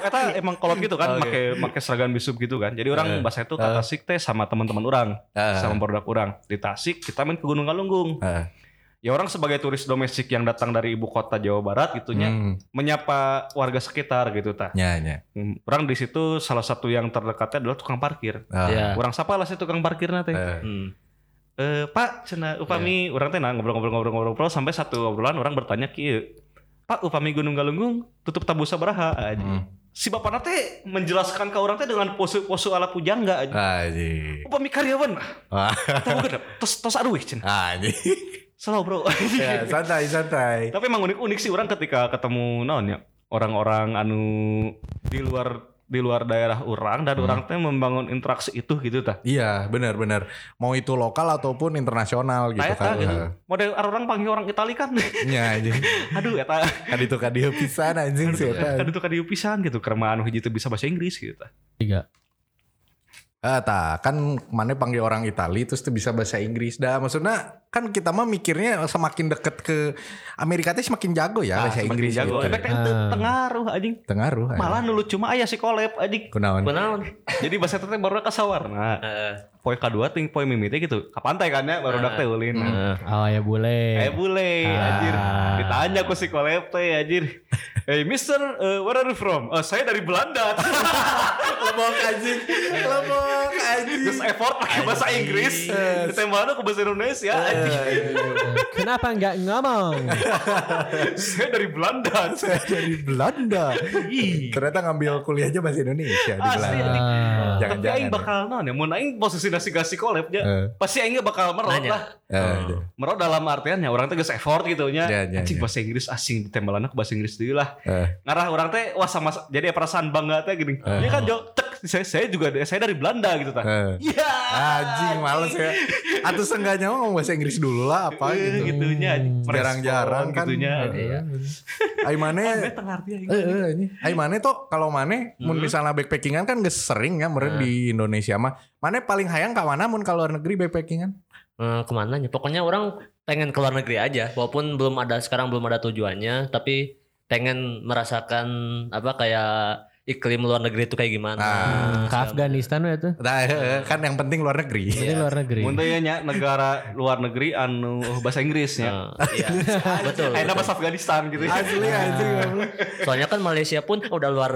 Speaker 3: Eta emang kolot gitu
Speaker 2: Ah,
Speaker 3: kan,
Speaker 2: Oke.
Speaker 3: make make seragam bisub gitu kan. Jadi
Speaker 2: Eh.
Speaker 3: orang bahasa itu ke Tasik teh sama teman-teman orang,
Speaker 2: Eh.
Speaker 3: sama produk orang. Di Tasik kita main ke Gunung Galunggung.
Speaker 2: Eh.
Speaker 3: ya orang sebagai turis domestik yang datang dari ibu kota Jawa Barat gitunya
Speaker 2: Hmm.
Speaker 3: menyapa warga sekitar gitu ta.
Speaker 2: Ya, ya.
Speaker 3: Hmm, Orang di situ salah satu yang terdekatnya adalah tukang parkir.
Speaker 2: Ah.
Speaker 4: Ya.
Speaker 3: Orang siapa lah si tukang parkirnya
Speaker 2: Eh.
Speaker 3: teh?
Speaker 2: Iya.
Speaker 3: Hmm. Eh, Pak, cina upami orang teh nah, ngobrol-ngobrol-ngobrol-ngobrol sampai satu obrolan orang bertanya ki, "Eh, Pak upami Gunung Galunggung tutup tabu sabaraha aja.
Speaker 2: Hmm.
Speaker 3: Si bapak teh menjelaskan ke orang teh dengan pose-pose ala pujangga aja.
Speaker 2: Anjing.
Speaker 3: Upami karyawan mah.
Speaker 2: Ah.
Speaker 3: Tahu gak? Tos tos aduh cina.
Speaker 2: Anjing.
Speaker 3: Salah bro.
Speaker 2: Ya, santai, santai.
Speaker 3: Tapi emang unik-unik sih orang ketika ketemu naon ya orang-orang anu di luar di luar daerah orang dan
Speaker 2: Hmm.
Speaker 3: orang teh membangun interaksi itu gitu tah.
Speaker 2: Iya, benar-benar. Mau itu lokal ataupun internasional gitu
Speaker 3: Tah,
Speaker 2: kan.
Speaker 3: tah, gitu. Model orang panggil orang Itali kan.
Speaker 2: Ya, anjing.
Speaker 3: Aduh eta
Speaker 2: Kan itu kan dia pisan anjing
Speaker 1: Iya.
Speaker 2: sih
Speaker 3: kan
Speaker 2: eta.
Speaker 3: itu kan dieu pisan gitu karena anu hiji teu bisa bahasa Inggris gitu tah.
Speaker 1: Tiga.
Speaker 2: Ah, tah, kan mana panggil orang Itali terus tuh bisa bahasa Inggris. Dah, maksudnya kan kita mah mikirnya semakin deket ke Amerika teh semakin jago ya bahasa
Speaker 3: Ah, semakin
Speaker 2: Inggris
Speaker 3: jago.
Speaker 2: gitu.
Speaker 3: Tapi kan teu
Speaker 1: Ah.
Speaker 3: tengaruh anjing.
Speaker 2: Tengaruh. anjing.
Speaker 3: Malah nulu cuma aya si kolep anjing.
Speaker 2: kunaon.
Speaker 4: Benar.
Speaker 3: Jadi bahasa eta teh baru kasawar. Nah,
Speaker 4: Heeh.
Speaker 3: poe kadua ting poe mimiti gitu. Ka pantai kan ya baru
Speaker 1: Ah.
Speaker 3: dak teh ulin. Nah,
Speaker 4: Heeh.
Speaker 1: Oh ya boleh.
Speaker 3: Eh bule,
Speaker 1: Ah.
Speaker 3: anjir. Ditanya ku si kolep teh anjir. Hey mister, uh, where are you from? "Oh, saya dari Belanda.
Speaker 2: Lebok anjing. Lebok anjing.
Speaker 3: Terus effort pakai bahasa Inggris. Ditembak aku ke bahasa Indonesia. anjir.
Speaker 1: Kenapa nggak ngomong?
Speaker 2: Eh.
Speaker 3: saya dari Belanda.
Speaker 2: Saya dari Belanda.
Speaker 3: Ih.
Speaker 2: Ternyata ngambil kuliahnya bahasa Indonesia di
Speaker 3: Asli,
Speaker 2: Belanda.
Speaker 3: anjing.
Speaker 1: Ah.
Speaker 3: Tapi
Speaker 2: Jangan-jangan.
Speaker 3: aing bakal naon ya, mun aing posisi nasi gasi collab nya,
Speaker 2: Eh,
Speaker 3: pasti aing bakal merot
Speaker 4: Nanya.
Speaker 3: lah.
Speaker 2: eh,
Speaker 3: Merot dalam artian ya orang teh geus effort gitu nya.
Speaker 2: Ya, ya,
Speaker 3: Anjing
Speaker 2: ya.
Speaker 3: bahasa Inggris asing ditembelana ke bahasa Inggris deui lah.
Speaker 2: eh.
Speaker 3: Ngarah orang teh wah sama jadi perasaan bangga teh gini.
Speaker 2: Eh.
Speaker 3: Ya kan Jo, cek saya, saya juga saya dari Belanda gitu tah.
Speaker 2: Eh.
Speaker 3: Iya.
Speaker 2: Anjing males ya. Atau seenggaknya mah ngomong bahasa Inggris dulu lah apa
Speaker 3: Eh,
Speaker 2: gitu.
Speaker 3: gitunya
Speaker 2: Hmm, jarang-jarang kan.
Speaker 3: gitunya
Speaker 2: Iya.
Speaker 3: iya.
Speaker 2: Ai mane Mm-hmm.
Speaker 3: Eh, tengah arti aing.
Speaker 2: Eh, eh, anjing. Ai mane tuh kalau mane mun misalnya backpackingan kan geus sering ya meren di Indonesia mah. Mane paling hayang ka mana mun ka luar negeri backpackingan?
Speaker 4: Eh, kemana nya? Pokoknya orang pengen keluar negeri aja, walaupun belum ada sekarang belum ada tujuannya, tapi pengen merasakan apa kayak iklim luar negeri itu kayak gimana.
Speaker 2: Ah,
Speaker 1: Hmm, Ke Afghanistan ya tuh.
Speaker 2: Nah, eh, eh, kan yang penting luar negeri.
Speaker 1: Ini luar negeri.
Speaker 3: Mun teh ya nya, negara luar negeri anu bahasa Inggrisnya.
Speaker 4: Nah, iya. betul.
Speaker 3: Ada
Speaker 4: betul.
Speaker 3: bahasa Afghanistan gitu ya.
Speaker 2: Asli Eh, anjing.
Speaker 4: Soalnya kan Malaysia pun udah luar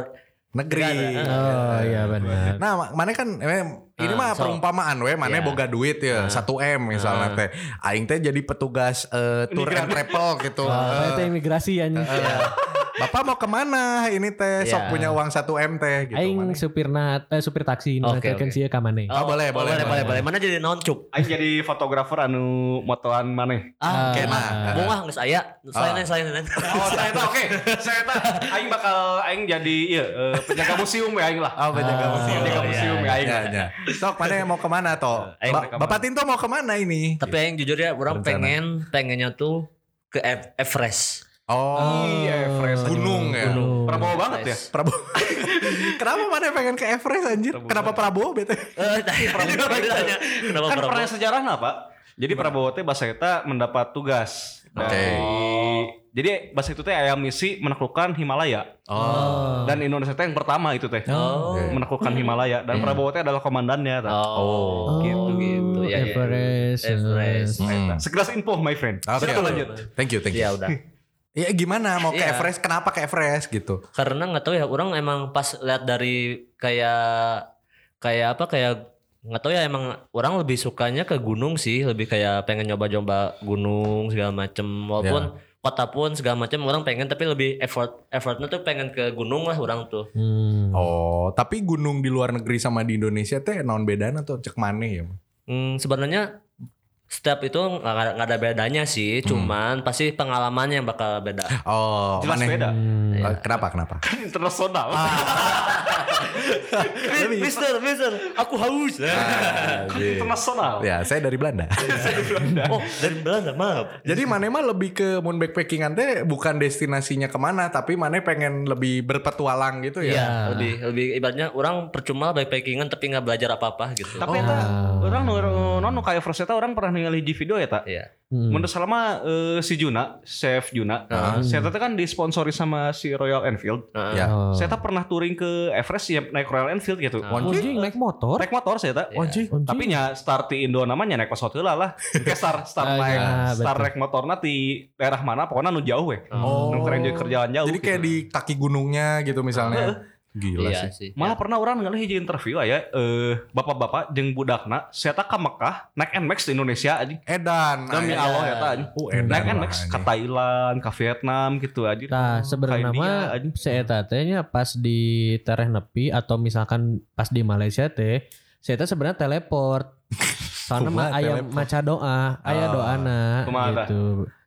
Speaker 2: Negeri.
Speaker 1: Oh iya benar.
Speaker 2: Nah, ma- mana kan eh, ini
Speaker 4: Ah,
Speaker 2: mah
Speaker 4: so-
Speaker 2: perumpamaan we, mana
Speaker 4: Iya.
Speaker 2: boga duit ya, 1 M misalnya teh. Aing teh jadi petugas eh, tour and travel gitu.
Speaker 1: Wah,
Speaker 2: Eh,
Speaker 1: saya teh imigrasi anjing.
Speaker 2: Bapak mau kemana ini teh sok
Speaker 4: Iya.
Speaker 2: punya uang 1 M teh gitu.
Speaker 1: Aing
Speaker 2: Mana-
Speaker 1: supirna eh, supir taksi
Speaker 4: Oke, Oh,
Speaker 1: nantikan
Speaker 4: oke.
Speaker 1: sih ka maneh.
Speaker 2: Ah, boleh, boleh, boleh.
Speaker 4: boleh, boleh, boleh. Mana jadi noncup?
Speaker 3: Aing jadi fotografer anu motoan maneh.
Speaker 4: Ah,
Speaker 2: Oke, Ah.
Speaker 4: oke
Speaker 2: nah.
Speaker 4: mah. Bunga geus aya. Selain selain selain.
Speaker 3: Oh, saya tahu oke. Saya tahu aing bakal aing jadi ieu eh, penjaga museum ya aing lah.
Speaker 2: Oh, penjaga museum.
Speaker 3: Penjaga
Speaker 4: iya,
Speaker 3: museum ya aing.
Speaker 2: Ya,
Speaker 3: lah.
Speaker 2: ya. Sok mana yang mau kemana toh?
Speaker 4: Aing
Speaker 2: Ba-
Speaker 3: mau kemana.
Speaker 2: Bapak Tinto mau kemana ini?
Speaker 4: Tapi yang jujur ya,
Speaker 2: Rencana.
Speaker 4: orang pengen pengennya tuh ke Ev- Everest.
Speaker 2: Oh,
Speaker 3: Iya, Everest.
Speaker 2: gunung ya.
Speaker 1: Gunung.
Speaker 3: Prabowo banget ya.
Speaker 4: Everest.
Speaker 2: Prabowo. Kenapa mana pengen ke Everest anjir?
Speaker 3: Prabowo.
Speaker 2: Kenapa Prabowo bete?
Speaker 4: Eh, tanya, tanya, kenapa
Speaker 3: kan
Speaker 4: Prabowo?
Speaker 3: pernah sejarah nggak pak? Jadi Prabowo teh bahasa eta mendapat tugas.
Speaker 2: Oke.
Speaker 3: Dari- Jadi bahasa itu teh ayam misi menaklukkan Himalaya
Speaker 2: Oh.
Speaker 3: dan Indonesia teh yang pertama itu teh
Speaker 4: Oh.
Speaker 2: Oke.
Speaker 3: menaklukkan Himalaya dan Prabowo teh adalah komandannya. tah.
Speaker 4: Oh, gitu gitu ya. ya. Nah,
Speaker 1: Everest.
Speaker 4: Everest.
Speaker 2: Hmm.
Speaker 3: Sekilas info my friend.
Speaker 2: Oke,
Speaker 3: Silakan
Speaker 2: oke.
Speaker 3: lanjut.
Speaker 2: Thank you, thank you.
Speaker 4: Ya udah.
Speaker 2: Ya gimana mau ke
Speaker 4: Iya.
Speaker 2: Everest? Kenapa ke Everest gitu?
Speaker 4: Karena nggak tahu ya, orang emang pas lihat dari kayak kayak apa kayak nggak tahu ya emang orang lebih sukanya ke gunung sih, lebih kayak pengen nyoba-nyoba gunung segala macem. Walaupun kota pun segala macem orang pengen tapi lebih effort effortnya tuh pengen ke gunung lah orang tuh.
Speaker 1: Hmm.
Speaker 2: Oh, tapi gunung di luar negeri sama di Indonesia teh non bedana tuh cek maneh ya.
Speaker 4: Hmm, sebenarnya setiap itu nggak nggak ada bedanya sih,
Speaker 2: Hmm.
Speaker 4: cuman pasti pengalaman yang bakal beda.
Speaker 2: Oh,
Speaker 3: Jelas
Speaker 2: maneh.
Speaker 3: beda.
Speaker 1: Hmm.
Speaker 2: Oh, Kenapa? Kenapa?
Speaker 3: Internasional.
Speaker 4: Eh, Mister, Mister, aku haus.
Speaker 2: Nah.
Speaker 3: Ah, iya. Internasional.
Speaker 2: ya, saya dari Belanda.
Speaker 4: oh, dari Belanda, maaf.
Speaker 2: Jadi Mane mah lebih ke moon backpackingan teh bukan destinasinya kemana, tapi Mane pengen lebih berpetualang gitu ya.
Speaker 4: Iya, lebih lebih ibaratnya orang percuma backpackingan tapi nggak belajar apa-apa gitu.
Speaker 1: Ah.
Speaker 3: Tapi eta orang nu nu- nu nu kayak Everest eta orang pernah ningali di video ya tak?
Speaker 4: Iya.
Speaker 1: Hmm.
Speaker 3: Menurut selama eh, si Juna, Chef Juna,
Speaker 4: Ah.
Speaker 3: saya tete kan disponsori sama si Royal Enfield.
Speaker 4: Heeh.
Speaker 2: Ya.
Speaker 1: Oh.
Speaker 3: Saya tete pernah touring ke Everest ya, naik Royal Enfield gitu.
Speaker 4: Ah.
Speaker 3: Wah,
Speaker 1: Anjing, naik motor.
Speaker 3: Naik motor saya tak.
Speaker 4: Iya. Anjing.
Speaker 3: Tapi nya start di Indo namanya naik pesawat heula lah. Kayak star star
Speaker 1: Ah,
Speaker 3: naik
Speaker 1: iya,
Speaker 3: star
Speaker 1: betul.
Speaker 3: naik motorna di daerah mana pokoknya nu jauh we.
Speaker 2: Oh.
Speaker 3: Nu keren jadi kerjaan jauh.
Speaker 2: Jadi kayak
Speaker 3: gitu.
Speaker 2: di kaki gunungnya gitu misalnya. Gila sih.
Speaker 4: Iya sih.
Speaker 3: Malah pernah orang ngalih hiji interview lah ya eh bapak-bapak jeung budakna saya tak ka Mekah naik NMAX di Indonesia anjing.
Speaker 2: Eh, Edan. Ay-
Speaker 3: Demi
Speaker 4: iya.
Speaker 3: Allah ya tadi.
Speaker 2: Oh,
Speaker 3: Naik
Speaker 2: edan.
Speaker 3: NMAX
Speaker 2: lah,
Speaker 3: ke
Speaker 2: anjing.
Speaker 3: Thailand, ke Vietnam gitu aja.
Speaker 1: Nah, sebenarnya
Speaker 3: Kayak dia,
Speaker 1: mah
Speaker 3: anjing.
Speaker 1: si eta teh nya pas di tereh nepi atau misalkan pas di Malaysia teh, si eta sebenarnya teleport. Soalnya mah
Speaker 2: Kumaha
Speaker 1: aya
Speaker 2: teleport?
Speaker 1: maca doa, aya
Speaker 2: Ah,
Speaker 1: doana
Speaker 3: kumaha dah?
Speaker 1: gitu.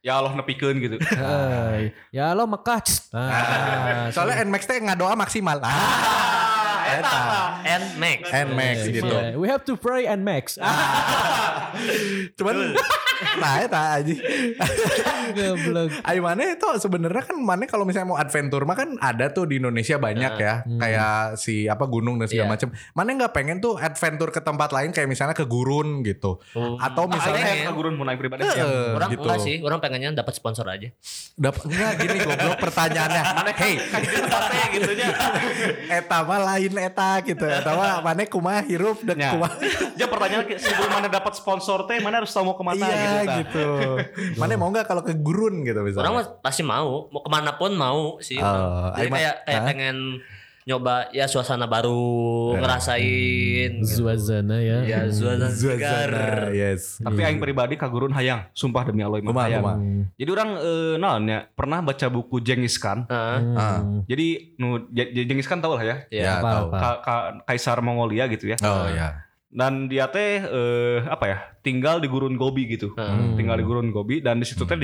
Speaker 3: Ya Allah nepikeun gitu.
Speaker 1: Heuy. ya lo Mekah. cst. Ah,
Speaker 2: Ah, iya. Soalnya NMAX teh nggak doa maksimal. Ah, eta.
Speaker 4: And Max.
Speaker 2: NMAX
Speaker 1: Iya,
Speaker 2: gitu. Ah.
Speaker 1: iya. We have to pray and max.
Speaker 2: Cuman nah eta anjing.
Speaker 1: Goblok.
Speaker 2: Ayo mana itu sebenarnya kan mana kalau misalnya mau adventure mah kan ada tuh di Indonesia banyak ya
Speaker 1: Hmm.
Speaker 2: kayak si apa gunung dan segala
Speaker 4: Iya.
Speaker 2: macam. Mana nggak pengen tuh adventure ke tempat lain kayak misalnya ke gurun gitu
Speaker 4: Hmm.
Speaker 2: atau
Speaker 3: Misalnya
Speaker 2: misalnya
Speaker 3: ke gurun mun naik pribadi.
Speaker 2: Eh,
Speaker 3: ya.
Speaker 4: Oh. orang
Speaker 2: gitu.
Speaker 4: enggak sih, orang pengennya dapat sponsor aja.
Speaker 2: Dapat enggak gini goblok pertanyaannya. Hey,
Speaker 3: Tapi gitu nya.
Speaker 2: eta mah lain eta gitu. Eta mah mana kumaha hirup dan
Speaker 3: Ya.
Speaker 2: kumaha
Speaker 3: Ya pertanyaan ke- sebelum mana dapat sponsor teh mana harus tahu mau kemana
Speaker 2: iya
Speaker 3: gitu. Gitu.
Speaker 2: gitu. Mana mau nggak kalau ke gurun gitu
Speaker 4: Orang
Speaker 2: misalnya.
Speaker 4: mah pasti mau, mau kemana pun mau sih.
Speaker 2: Eh,
Speaker 4: orang. Jadi
Speaker 2: Aima-
Speaker 4: kayak kayak
Speaker 2: Hah?
Speaker 4: pengen nyoba ya suasana
Speaker 2: Ya.
Speaker 4: baru, ngerasain.
Speaker 2: Hmm.
Speaker 4: gitu.
Speaker 1: Zuazana ya.
Speaker 4: Ya suasana segar.
Speaker 2: Zuazana, yes.
Speaker 3: Tapi aing pribadi ka gurun hayang, sumpah demi Allah imah
Speaker 2: Kumaha,
Speaker 3: hayang.
Speaker 2: kumaha.
Speaker 1: Hmm.
Speaker 3: Jadi orang eh, naon ya, pernah baca buku Genghis Khan.
Speaker 4: Heeh.
Speaker 2: Ah.
Speaker 1: Hmm.
Speaker 3: Jadi nu J- J- Genghis Khan tau lah ya.
Speaker 4: Ya.
Speaker 2: Ya,
Speaker 1: Apa,
Speaker 2: tahu.
Speaker 1: apa.
Speaker 3: Ka- ka- Kaisar Mongolia gitu ya.
Speaker 2: Oh ya.
Speaker 3: Dan dia teh eh, apa ya? Tinggal di gurun Gobi gitu.
Speaker 2: Hmm.
Speaker 4: Heeh.
Speaker 3: Tinggal di gurun Gobi dan di situ teh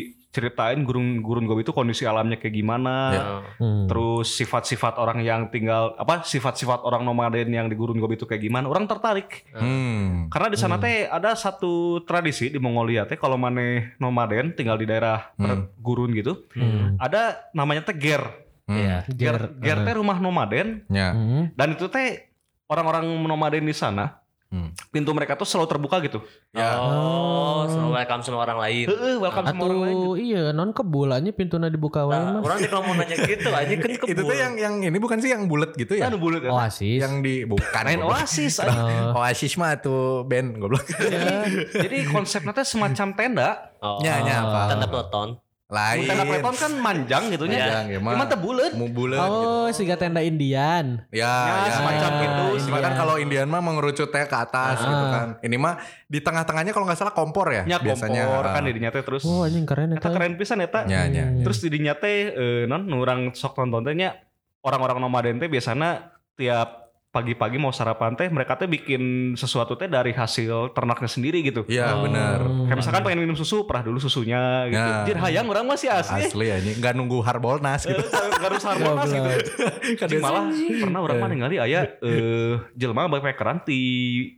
Speaker 3: diceritain gurun gurun Gobi itu kondisi alamnya kayak gimana.
Speaker 2: Ya.
Speaker 1: Hmm.
Speaker 3: Terus sifat-sifat orang yang tinggal apa sifat-sifat orang nomaden yang di gurun Gobi itu kayak gimana? Orang tertarik.
Speaker 2: Hmm.
Speaker 3: Karena di sana teh ada satu tradisi di Mongolia teh kalau maneh nomaden tinggal di daerah
Speaker 2: Hmm.
Speaker 3: gurun gitu,
Speaker 4: Hmm.
Speaker 3: ada namanya teh ger.
Speaker 4: Iya.
Speaker 3: Ger, ger
Speaker 2: eh.
Speaker 3: teh rumah nomaden
Speaker 2: Hmm. Ya.
Speaker 1: Hmm.
Speaker 3: dan itu teh orang-orang nomaden di sana
Speaker 2: Hmm.
Speaker 3: pintu mereka tuh selalu terbuka gitu.
Speaker 2: Ya.
Speaker 4: Oh, selalu welcome sama orang
Speaker 2: Iya.
Speaker 4: lain.
Speaker 3: Heeh, welcome sama orang lain. gitu.
Speaker 1: Atuh iya non kebulannya pintuna dibuka wae
Speaker 4: Nah,
Speaker 1: mah.
Speaker 4: orang juga mau nanya gitu aja kan kebun.
Speaker 2: Itu tuh yang yang ini bukan sih yang bulat gitu ya?
Speaker 3: Aduh bulut ya.
Speaker 1: Oasis.
Speaker 2: Yang di bukan.
Speaker 3: Lain
Speaker 2: goblok.
Speaker 3: oasis. anjing.
Speaker 1: Oh.
Speaker 2: Oasis mah tuh band goblok.
Speaker 3: Iya. Jadi konsepnya teh semacam tenda.
Speaker 4: oh.
Speaker 2: Nya nya apa?
Speaker 4: tanda peloton.
Speaker 2: Lain.
Speaker 3: Tenda peleton kan manjang gitu nya.
Speaker 2: Panjang, ya, mah.
Speaker 3: Cuman teh bulet.
Speaker 2: Mau bulat gitu.
Speaker 1: Oh, siga tenda Indian.
Speaker 2: Ya,
Speaker 3: Ya,
Speaker 2: ya.
Speaker 3: semacam itu.
Speaker 2: Cuma kan
Speaker 1: Indian.
Speaker 2: kalau Indian mah mengerucutnya ke atas
Speaker 1: Ah.
Speaker 2: gitu kan. Ini mah di tengah-tengahnya kalau nggak salah kompor ya
Speaker 3: Nya
Speaker 2: biasanya. Ah.
Speaker 3: kompor kan dirinya teh terus.
Speaker 1: Oh, anjing keren eta.
Speaker 3: Eta keren pisan eta.
Speaker 2: Ya, ya.
Speaker 1: Hmm.
Speaker 3: Terus didinya teh eh, non nu urang sok nonton teh nya orang-orang nomaden teh biasana tiap pagi-pagi mau sarapan teh mereka teh bikin sesuatu teh dari hasil ternaknya sendiri gitu.
Speaker 2: Iya,
Speaker 1: Oh.
Speaker 2: benar.
Speaker 3: Kayak misalkan pengen minum susu, perah dulu susunya gitu.
Speaker 2: Ya.
Speaker 3: Jir hayang orang masih asli.
Speaker 2: Asli ya ini nggak nunggu harbolnas gitu.
Speaker 3: Garus harmonas gitu.
Speaker 1: Goblok.
Speaker 3: Jadi malah pernah orang mah ningali aya eh jelema backpackeran di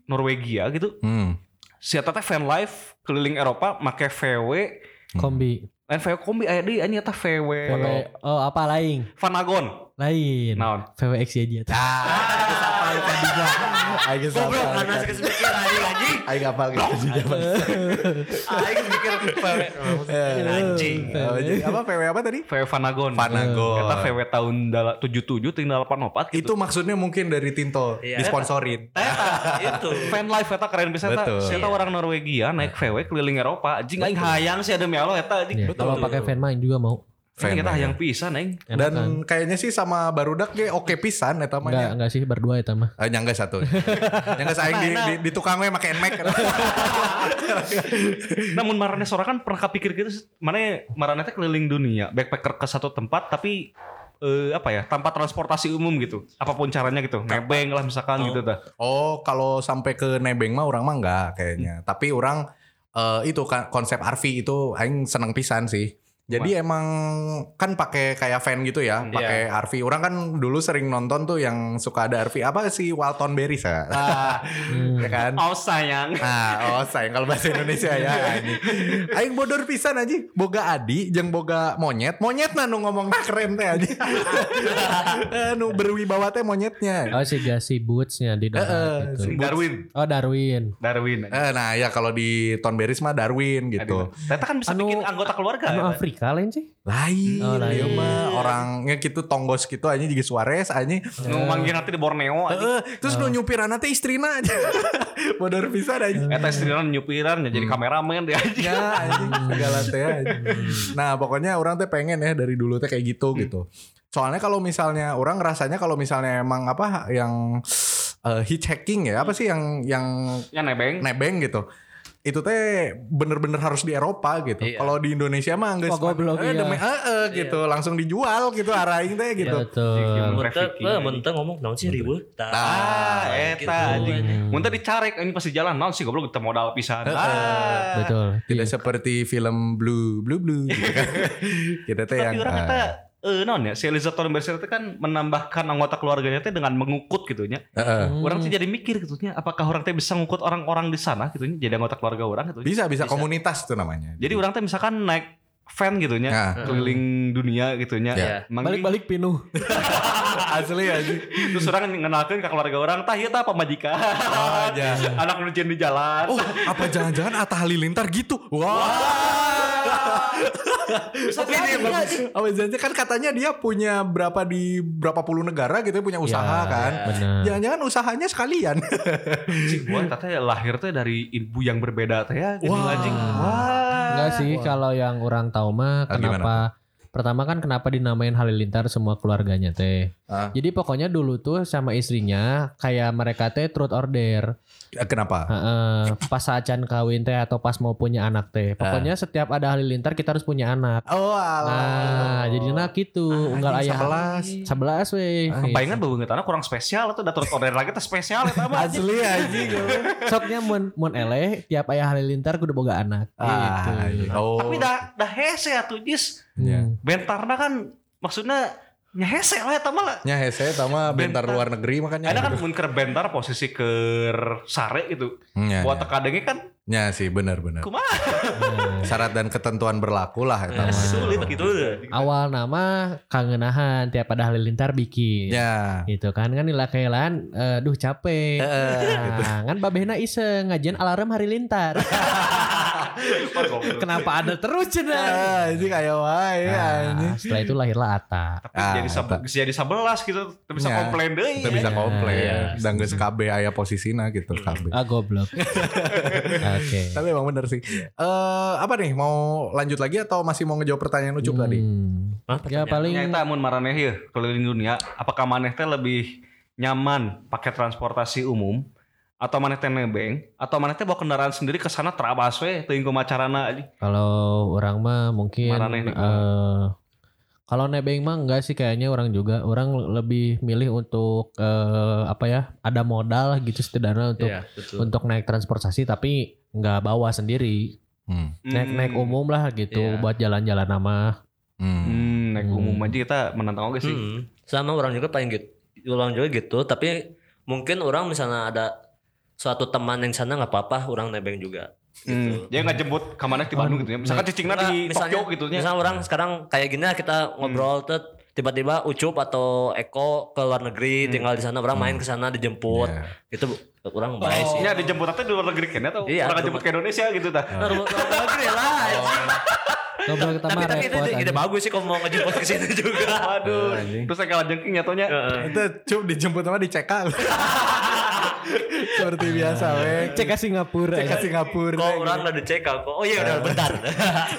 Speaker 3: Norwegia gitu.
Speaker 2: Hmm.
Speaker 3: Si eta teh van life keliling Eropa make VW,
Speaker 1: kombi.
Speaker 3: lain VW kombi aya di anjing eta VW
Speaker 1: VW. Oh, apa lain?
Speaker 3: Vanagon.
Speaker 1: Lain.
Speaker 3: Naon?
Speaker 1: VWX ya dia.
Speaker 2: Ah, ayo sapa lu tadinya. Ayo sapa.
Speaker 4: Goblok, karena saya kesemikir aja aja.
Speaker 2: Ayo ngapal tadinya. Bang.
Speaker 4: Ayo kesemikir. Anjing.
Speaker 2: Oh, jadi apa PW apa tadi?
Speaker 3: VW Vanagon.
Speaker 2: Vanagon.
Speaker 3: Eta VW tahun dala- 77 tinggal 84
Speaker 2: Itu
Speaker 3: gitu.
Speaker 2: maksudnya mungkin dari Tinto
Speaker 4: Iya.
Speaker 2: disponsorin.
Speaker 4: Eta, itu.
Speaker 3: fan life eta keren bisa eta.
Speaker 2: Betul.
Speaker 3: Si eta orang Norwegia naik VW keliling Eropa. Anjing aing hayang sih ada Allah eta anjing.
Speaker 2: Iya.
Speaker 1: Ya, kalau pakai fan main juga mau.
Speaker 3: Ini kita
Speaker 2: Fan,
Speaker 3: hayang pisan aing.
Speaker 1: Enak
Speaker 2: Dan
Speaker 1: kan?
Speaker 2: kayaknya sih sama Barudak ge oke pisan eta mah
Speaker 1: enggak
Speaker 2: nya.
Speaker 1: enggak sih berdua ya mah.
Speaker 2: Eh, nyangga satu. nyangga saing di, di, di tukang we make enmek.
Speaker 3: Namun marane sorakan pernah kapikir gitu mana marane teh keliling dunia, backpacker ke satu tempat tapi eh, apa ya tanpa transportasi umum gitu apapun caranya gitu nebeng lah misalkan gitu dah
Speaker 2: oh, kalau sampai ke Nebeng mah orang mah enggak kayaknya. Tapi orang eh, itu kan konsep RV itu aing seneng pisan sih. Jadi emang kan pakai kayak fan gitu ya, pakai RV. Orang kan dulu sering nonton tuh yang suka ada RV apa sih Walton Berry ya?
Speaker 1: Hmm.
Speaker 2: ya kan?
Speaker 3: Oh sayang.
Speaker 2: Nah, oh sayang kalau bahasa Indonesia ya. anjing. Aing bodor pisan aja. Boga Adi jeung boga monyet. Monyet nah nu ngomong keren teh aja. nu berwibawa teh monyetnya.
Speaker 1: Oh si Gasi Bootsnya di Dorat
Speaker 2: Heeh,
Speaker 1: gitu.
Speaker 2: si-
Speaker 3: Darwin.
Speaker 1: Oh Darwin.
Speaker 3: Darwin.
Speaker 2: Eh, nah ya kalau di Ton Berry mah Darwin gitu.
Speaker 3: Ternyata kan bisa
Speaker 1: Anu-
Speaker 3: bikin anggota keluarga.
Speaker 1: Anu
Speaker 3: ya, Pak?
Speaker 1: Afrika lain sih.
Speaker 2: Lain,
Speaker 1: Oh,
Speaker 2: dia
Speaker 1: lain.
Speaker 2: mah orangnya gitu tonggos gitu aja juga Suarez aja.
Speaker 3: Nu manggil nanti di Borneo aja.
Speaker 2: Heeh, terus nu nyupiranna teh istrina aja. Bodor pisan aja.
Speaker 3: Eta istrinya Eh, nyupiran ya jadi kameramen dia aja.
Speaker 2: Ya anjing segala teh. anjing.
Speaker 4: Hmm.
Speaker 2: Nah, pokoknya orang teh pengen ya dari dulu teh kayak gitu gitu. Soalnya kalau misalnya orang rasanya kalau misalnya emang apa yang eh, hitchhiking ya, apa sih yang yang
Speaker 3: Ya nebeng.
Speaker 2: nebeng gitu. Itu teh bener-bener harus di Eropa gitu.
Speaker 4: Iya.
Speaker 2: Kalau di Indonesia mah Eh,
Speaker 1: Wah,
Speaker 2: enggak
Speaker 1: goblok, iya.
Speaker 2: gitu, langsung dijual gitu araing teh gitu.
Speaker 4: Iya.
Speaker 1: Betul.
Speaker 4: Muntah,
Speaker 3: Iya, Trafficking.
Speaker 4: eh, muntah ngomong naon sih ribut. Nah, gitu.
Speaker 2: Tah,
Speaker 3: Ah, eta anjing. Mun teh dicarek ini pasti jalan naon sih goblok teu modal pisan. Ah.
Speaker 1: Betul.
Speaker 2: Iya.
Speaker 1: Iya.
Speaker 2: Tidak seperti film Blue Blue Blue gitu kan. Kita teh yang
Speaker 3: Tapi orang
Speaker 2: ah,
Speaker 3: eta eh non ya si Elizabeth Olmberger itu kan menambahkan anggota keluarganya teh dengan mengukut gitu nya.
Speaker 2: heeh.
Speaker 1: Hmm.
Speaker 3: Orang tuh jadi mikir gitu nya, apakah orang teh bisa ngukut orang-orang di sana gitu nya jadi anggota keluarga orang gitu. nya.
Speaker 2: bisa bisa
Speaker 4: Bisa.
Speaker 2: komunitas itu namanya.
Speaker 3: Jadi orang teh misalkan naik van gitu nya
Speaker 2: Nah.
Speaker 3: keliling dunia gitu nya.
Speaker 4: Iya.
Speaker 3: Manggi-
Speaker 1: Balik-balik pinuh.
Speaker 2: asli asli.
Speaker 3: Terus orang ngenalkan ke keluarga orang, tah ya tah pemajikan.
Speaker 2: Oh, aja.
Speaker 3: Anak ngerjain di jalan.
Speaker 2: Oh, apa jangan-jangan Atta Halilintar gitu? Wah. Tapi dia bagus. Apa jangan-jangan kan katanya dia punya berapa di berapa puluh negara gitu ya, punya usaha
Speaker 1: Ya,
Speaker 2: kan?
Speaker 1: benar.
Speaker 2: Jangan-jangan usahanya sekalian.
Speaker 3: Cik, gua katanya lahir tuh dari ibu yang berbeda teh ya. gitu,
Speaker 2: Wah.
Speaker 3: anjing. Wah.
Speaker 1: Enggak sih kalau yang orang tahu mah
Speaker 2: Ah, gimana
Speaker 1: kenapa pertama kan kenapa dinamain Halilintar semua keluarganya teh.
Speaker 2: Ah.
Speaker 1: Jadi pokoknya dulu tuh sama istrinya kayak mereka teh truth order.
Speaker 2: Eh, Kenapa?
Speaker 1: Heeh, pas acan kawin teh atau pas mau punya anak teh.
Speaker 2: Ah.
Speaker 1: Pokoknya setiap ada Halilintar kita harus punya anak.
Speaker 2: Oh, alah.
Speaker 1: Nah, jadi nak gitu unggal
Speaker 2: Ah, Anjing,
Speaker 1: ayah 11 weh. Iya.
Speaker 2: Iya,
Speaker 3: Kepaingan bau tanah kurang spesial tuh datar order lagi teh spesial eta mah. anjing.
Speaker 2: Asli anjing.
Speaker 1: Soknya mun mun eleh tiap ayah Halilintar kudu boga anak.
Speaker 2: Ah,
Speaker 1: Gitu.
Speaker 2: oh.
Speaker 3: Tapi dah dah hese atuh jis.
Speaker 2: Iya.
Speaker 1: Hmm.
Speaker 3: Bentarna kan maksudnya nya hese lah eta mah. lah.
Speaker 2: Nya hese sama bentar
Speaker 3: Bentar.
Speaker 2: luar negeri makanya. Gitu.
Speaker 3: Ada kan mun keur bentar posisi keur sare gitu.
Speaker 2: Nya,
Speaker 3: Buat
Speaker 2: nya.
Speaker 3: tekadenge kan
Speaker 2: Nya sih benar-benar.
Speaker 3: kumaha
Speaker 1: Nah.
Speaker 2: Syarat dan ketentuan berlaku lah ya, itu.
Speaker 4: Eh,
Speaker 2: mah.
Speaker 4: sulit gitu.
Speaker 1: Awal nama kangenahan tiap ada Halilintar bikin.
Speaker 2: Ya.
Speaker 1: gitu kan kan nila kelan eh, duh capek nah, kan babehna iseng ngajian alarm hari lintar kenapa ada terus cina
Speaker 2: Ah, ini kayak wae Iya, anjing.
Speaker 1: nah, setelah itu lahirlah Ata
Speaker 3: Tapi
Speaker 2: Ah,
Speaker 3: jadi sab- jadi 11 gitu, tapi bisa
Speaker 2: Ya.
Speaker 3: komplain deui.
Speaker 2: Kita bisa
Speaker 1: Iya.
Speaker 2: komplain
Speaker 4: Iya.
Speaker 2: dan geus KB aya posisina gitu KB.
Speaker 1: ah goblok oke
Speaker 2: Tapi emang bener sih. Eh apa nih mau lanjut lagi atau masih mau ngejawab pertanyaan ucup tadi?
Speaker 1: Hmm.
Speaker 4: Hah,
Speaker 1: ya
Speaker 4: pertanyaan.
Speaker 1: paling
Speaker 3: Ya, eta amun maraneh ya keliling dunia, apakah maneh teh lebih nyaman pakai transportasi umum atau maneh teh nebeng atau maneh teh bawa kendaraan sendiri ke sana terabas we teuing kumacarana anjing.
Speaker 1: kalau orang mah mungkin
Speaker 3: Marane nih.
Speaker 1: eh, kalau nebeng mah enggak sih kayaknya orang juga orang lebih milih untuk eh, apa ya ada modal gitu setidaknya untuk
Speaker 4: Iya, betul.
Speaker 1: untuk naik transportasi tapi nggak bawa sendiri
Speaker 2: Hmm.
Speaker 1: naik naik
Speaker 3: Hmm.
Speaker 1: umum lah gitu
Speaker 4: Iya.
Speaker 1: buat jalan-jalan sama
Speaker 2: Hmm.
Speaker 3: Hmm, naik
Speaker 1: Hmm.
Speaker 3: umum aja kita menantang oge sih.
Speaker 4: Hmm, sama orang juga paling gitu orang juga gitu tapi mungkin orang misalnya ada suatu teman yang sana nggak apa-apa orang nebeng juga
Speaker 3: Hmm.
Speaker 4: gitu
Speaker 3: Dia nggak jemput ke mana di Bandung gitu ya. Misalkan cicingna
Speaker 4: Nggak,
Speaker 3: di
Speaker 4: misalnya,
Speaker 3: Tokyo gitu ya.
Speaker 4: misalnya orang sekarang kayak gini lah kita ngobrol tuh tiba-tiba Ucup atau Eko ke luar negeri tinggal di sana orang main ke sana dijemput
Speaker 2: Ya.
Speaker 4: itu orang baik sih
Speaker 3: Iya, dijemput tapi di luar negeri kan atau
Speaker 4: Iya,
Speaker 3: orang
Speaker 4: di
Speaker 3: jemput
Speaker 4: rumah.
Speaker 3: ke Indonesia gitu tah.
Speaker 4: Nah, rumah- luar negeri lah anjing.
Speaker 1: ngobrol kita
Speaker 4: tapi
Speaker 1: mah
Speaker 4: tapi itu
Speaker 1: repot
Speaker 4: ide
Speaker 1: aja.
Speaker 4: bagus sih kalau mau ngejemput ke sini juga
Speaker 3: Waduh.
Speaker 2: anjing.
Speaker 3: Terus saya kalah jengking ya tonya.
Speaker 2: Itu cup dijemput sama di CK. Seperti biasa weh.
Speaker 1: cek ke Singapura ya.
Speaker 2: Cek ke Singapura.
Speaker 4: kok
Speaker 2: weh.
Speaker 4: orang udah dicek kok oh iya udah bentar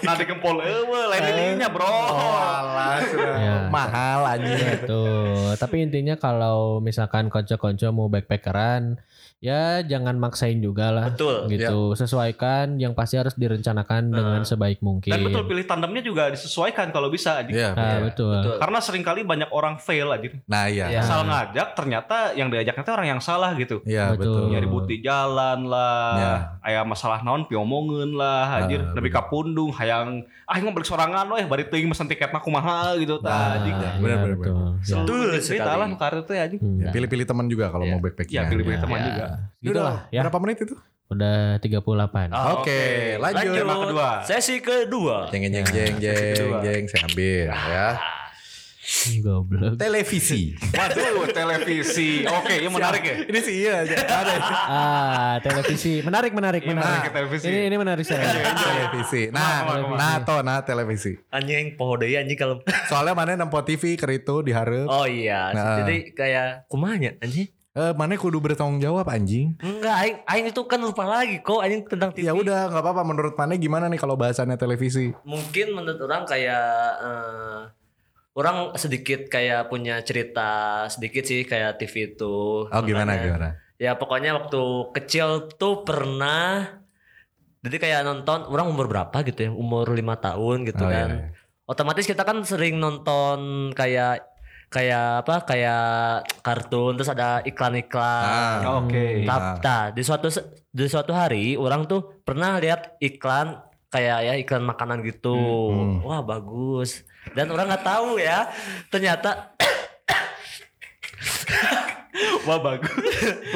Speaker 3: Nah, di kempol eueuh, lain ininya, Bro.
Speaker 2: Oh, alah, sudah.
Speaker 1: Ya.
Speaker 2: mahal anjing.
Speaker 1: Betul. tapi intinya kalau misalkan konco-konco mau backpackeran ya jangan maksain juga lah
Speaker 4: Betul.
Speaker 1: gitu sesuaikan yang pasti harus direncanakan dengan sebaik mungkin
Speaker 3: Dan betul pilih tandemnya juga disesuaikan kalau bisa. anjing.
Speaker 2: Iya.
Speaker 1: Ah, betul.
Speaker 4: Betul.
Speaker 3: Karena seringkali banyak orang fail aja.
Speaker 2: Nah, iya.
Speaker 4: Ya.
Speaker 3: Asal ngajak ternyata yang diajaknya itu orang yang salah gitu.
Speaker 2: Iya,
Speaker 1: Betul.
Speaker 2: betul.
Speaker 3: nyari bukti jalan
Speaker 2: Ya.
Speaker 3: lah ayah masalah naon piomongin lah anjir
Speaker 2: Ah,
Speaker 3: tapi
Speaker 2: bener.
Speaker 3: kapundung hayang ah yang balik sorangan weh bari teuing mesen tiketna kumaha gitu
Speaker 2: Nah,
Speaker 3: tah anjing
Speaker 2: iya.
Speaker 1: benar
Speaker 2: benar,
Speaker 1: Ah,
Speaker 2: benar,
Speaker 1: betul. Ya.
Speaker 4: Betul
Speaker 3: cerita
Speaker 4: sekali.
Speaker 3: lah nu karir teh anjing
Speaker 1: Hmm.
Speaker 2: Ya, pilih-pilih teman juga kalau
Speaker 3: Iya.
Speaker 2: mau backpacking.
Speaker 3: ya pilih-pilih teman
Speaker 4: Ya.
Speaker 3: juga
Speaker 1: Gitu lah ya.
Speaker 2: Berapa menit itu?
Speaker 1: Udah 38.
Speaker 4: Ah,
Speaker 2: Oke, lanjut.
Speaker 3: Tema kedua.
Speaker 4: Sesi kedua.
Speaker 2: Jeng jeng jeng jeng
Speaker 3: Kedua.
Speaker 2: jeng saya ambil ya.
Speaker 1: Goblok.
Speaker 2: Televisi.
Speaker 3: waduh televisi oke ya menarik ya
Speaker 2: Ini sih iya aja. Ada.
Speaker 1: Ah, televisi. Menarik, menarik,
Speaker 3: Ini menarik
Speaker 1: menarik.
Speaker 3: ya, televisi.
Speaker 1: Ini ini menarik sekali.
Speaker 2: televisi. Nah,
Speaker 3: Kemana, kemana,
Speaker 2: nah to nah televisi.
Speaker 4: Anjing poho deui anjing kalau
Speaker 2: Soalnya mana nempo TV keritu diharap.
Speaker 4: Oh iya,
Speaker 2: Nah.
Speaker 4: jadi kayak kumanya anjing.
Speaker 2: Eh, mana kudu bertanggung jawab anjing.
Speaker 4: Enggak, aing aing itu kan lupa lagi kok anjing tentang TV.
Speaker 2: Ya udah nggak apa-apa menurut mana gimana nih kalau bahasannya televisi? Oh,
Speaker 4: Mungkin menurut orang kayak eh, orang sedikit kayak punya cerita sedikit sih kayak TV itu.
Speaker 2: Oh gimana
Speaker 4: Makanya-
Speaker 2: gimana?
Speaker 4: Ya pokoknya waktu kecil tuh pernah jadi kayak nonton orang umur berapa gitu ya, umur lima tahun gitu
Speaker 2: Oh,
Speaker 4: kan.
Speaker 2: iya, iya.
Speaker 4: Otomatis kita kan sering nonton kayak kayak apa kayak kartun terus ada iklan-iklan.
Speaker 2: Ah,
Speaker 3: oke
Speaker 4: Tap- Nah, di suatu di suatu hari orang tuh pernah lihat iklan kayak ya iklan makanan gitu.
Speaker 2: Hmm,
Speaker 4: Wah, bagus. Dan orang nggak tahu ya, ternyata Wah bagus.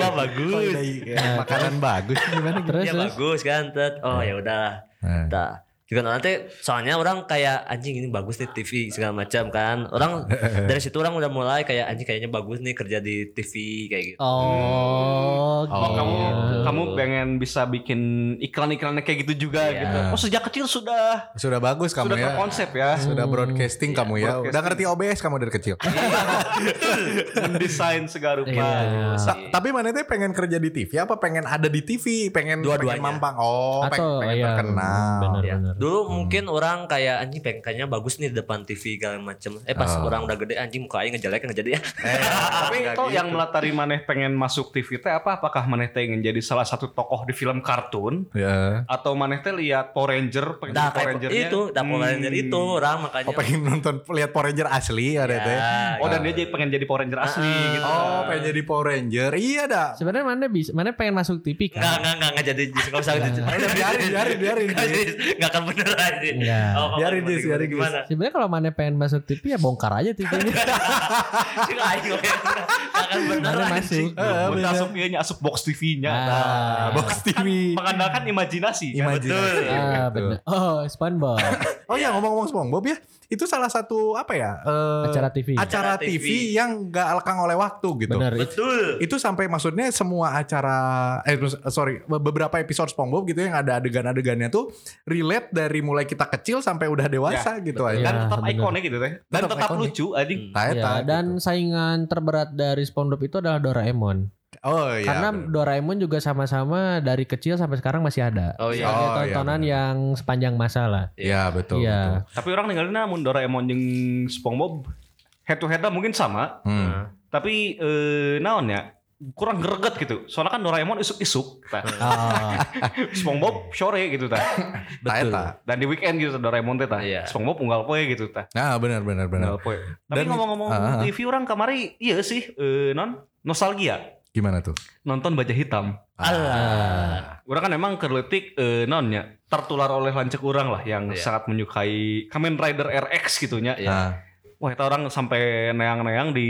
Speaker 4: Wah bagus.
Speaker 2: Eh, makanan bagus gimana?
Speaker 1: Terus,
Speaker 4: Ya
Speaker 1: terus.
Speaker 4: bagus kan. Tet. Oh ya udah.
Speaker 2: Nah,
Speaker 4: Nah, juga nanti soalnya orang kayak anjing ini bagus nih TV segala macam kan. Orang dari situ orang udah mulai kayak anjing kayaknya bagus nih kerja di TV kayak gitu.
Speaker 1: Oh,
Speaker 3: Oh, kamu
Speaker 2: iya.
Speaker 1: gitu.
Speaker 3: kamu pengen bisa bikin iklan-iklannya kayak gitu juga
Speaker 4: Iya.
Speaker 3: gitu. Oh, sejak kecil sudah
Speaker 2: sudah bagus kamu
Speaker 3: sudah
Speaker 2: ya.
Speaker 3: terkonsep ya.
Speaker 2: Sudah broadcasting kamu ya. Udah
Speaker 3: broadcasting.
Speaker 2: ngerti OBS kamu dari kecil.
Speaker 3: Mendesain segala rupa. gitu.
Speaker 1: Iya.
Speaker 2: Ta- tapi mana teh pengen kerja di TV apa pengen ada di TV pengen
Speaker 4: Dua-duanya.
Speaker 2: pengen mampang oh peng-
Speaker 1: Atau
Speaker 2: pengen
Speaker 1: ya,
Speaker 2: terkenal
Speaker 1: benar-benar.
Speaker 4: Dulu mungkin orang kayak anjing pengen kayaknya bagus nih di depan TV segala macam. Eh pas orang udah gede anjing muka aing ngejelek ngejadi ya.
Speaker 2: Eh,
Speaker 3: Tapi
Speaker 2: nggak
Speaker 3: toh
Speaker 2: gitu.
Speaker 3: yang melatari maneh pengen masuk TV teh apa? Apakah maneh teh ingin jadi salah satu tokoh di film kartun
Speaker 2: ya.
Speaker 3: atau maneh teh lihat Power Ranger pengen jadi
Speaker 4: Nah,
Speaker 3: Power
Speaker 4: kayak
Speaker 3: Ranger
Speaker 4: itu, dah
Speaker 2: Hmm.
Speaker 4: Power Ranger itu orang makanya.
Speaker 2: oh pengen nonton lihat Power Ranger asli ada
Speaker 4: Ya,
Speaker 2: teh
Speaker 3: Oh,
Speaker 2: Nah.
Speaker 3: dan dia jadi pengen jadi Power Ranger asli
Speaker 4: Ah.
Speaker 3: gitu.
Speaker 2: oh pengen jadi Power Ranger iya dah
Speaker 1: Sebenarnya mana bisa, mana pengen masuk TV
Speaker 4: Enggak,
Speaker 1: kan?
Speaker 4: enggak, enggak, enggak jadi jis. Enggak usah jis.
Speaker 2: Nah. Udah, biarin, biarin, biarin,
Speaker 4: Enggak, Jis. Enggak akan bener aja.
Speaker 1: Enggak.
Speaker 2: Iya. Biarin, Jis, biarin, Jis.
Speaker 4: Gimana?
Speaker 1: Sebenarnya kalau mana pengen masuk TV ya bongkar aja TV-nya.
Speaker 4: Sih, aing, we. Enggak akan bener
Speaker 1: mana masuk.
Speaker 4: anjing.
Speaker 2: Ah,
Speaker 3: Buat
Speaker 2: bener.
Speaker 3: asup ieu nya, asup box TV-nya.
Speaker 1: Ah,
Speaker 2: box TV
Speaker 3: Mengandalkan imajinasi.
Speaker 2: imajinasi Iya,
Speaker 1: Ah, benar.
Speaker 2: Betul.
Speaker 1: Oh, SpongeBob.
Speaker 2: oh ya ngomong-ngomong SpongeBob ya itu salah satu apa ya eh,
Speaker 1: Acara TV.
Speaker 2: acara
Speaker 4: Acara
Speaker 2: TV,
Speaker 4: TV.
Speaker 2: yang gak lekang oleh waktu gitu
Speaker 1: Benar.
Speaker 4: Betul.
Speaker 2: itu sampai maksudnya semua acara eh terus- sorry be- beberapa episode SpongeBob gitu yang ada adegan-adegannya tuh relate dari mulai kita kecil sampai udah dewasa gitu
Speaker 1: betul.
Speaker 2: aja.
Speaker 3: dan
Speaker 1: Ya,
Speaker 3: tetap
Speaker 1: bener.
Speaker 3: ikonik gitu teh dan
Speaker 2: Tetap
Speaker 3: tetap,
Speaker 2: ikonik.
Speaker 3: lucu anjing
Speaker 4: Hmm.
Speaker 2: Nah, eta
Speaker 1: Ya,
Speaker 2: gitu.
Speaker 1: dan saingan terberat dari SpongeBob itu adalah Doraemon.
Speaker 2: oh iya.
Speaker 1: Karena Doraemon juga sama-sama dari kecil sampai sekarang masih ada.
Speaker 4: Oh iya.
Speaker 2: Oh,
Speaker 1: Ada
Speaker 2: iya,
Speaker 1: tontonan
Speaker 2: benar.
Speaker 1: yang sepanjang masa lah.
Speaker 2: Iya betul.
Speaker 1: Iya.
Speaker 3: tapi orang ninggalin namun Doraemon jeung SpongeBob head to head mungkin sama
Speaker 2: betul. Hmm.
Speaker 3: tapi eh naon ya kurang greget gitu soalnya kan Doraemon isuk-isuk Nah, tah.
Speaker 2: Ah,
Speaker 1: Oh,
Speaker 3: SpongeBob sore gitu tah
Speaker 2: Nah, eta.
Speaker 3: dan di weekend gitu Doraemon teh tah
Speaker 4: Iya.
Speaker 3: SpongeBob unggal poe gitu tah
Speaker 2: Nah benar benar benar.
Speaker 3: unggal poe tapi
Speaker 2: Dan-
Speaker 3: ngomong-ngomong
Speaker 2: Ah.
Speaker 3: TV orang kemari iya sih eh, non nostalgia
Speaker 2: Gimana tuh?
Speaker 3: nonton baja hitam
Speaker 2: Ah.
Speaker 4: Allah.
Speaker 3: Orang kan emang kerletik eh, nonnya tertular oleh lancek orang lah yang
Speaker 4: Iya.
Speaker 3: sangat menyukai Kamen Rider RX gitunya.
Speaker 4: Iya.
Speaker 2: Ah.
Speaker 3: Wah, itu orang sampai neang-neang di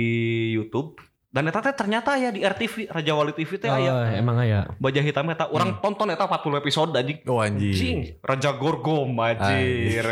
Speaker 3: YouTube dan eta teh ternyata ya di RTV Raja Wali TV teh
Speaker 1: Oh,
Speaker 3: aya
Speaker 4: iya.
Speaker 1: emang ya.
Speaker 3: Baja Hitam eta
Speaker 2: Hmm.
Speaker 3: orang tonton eta 40 episode tadi.
Speaker 2: Oh anjing.
Speaker 3: Cing, Raja Gorgom anjir.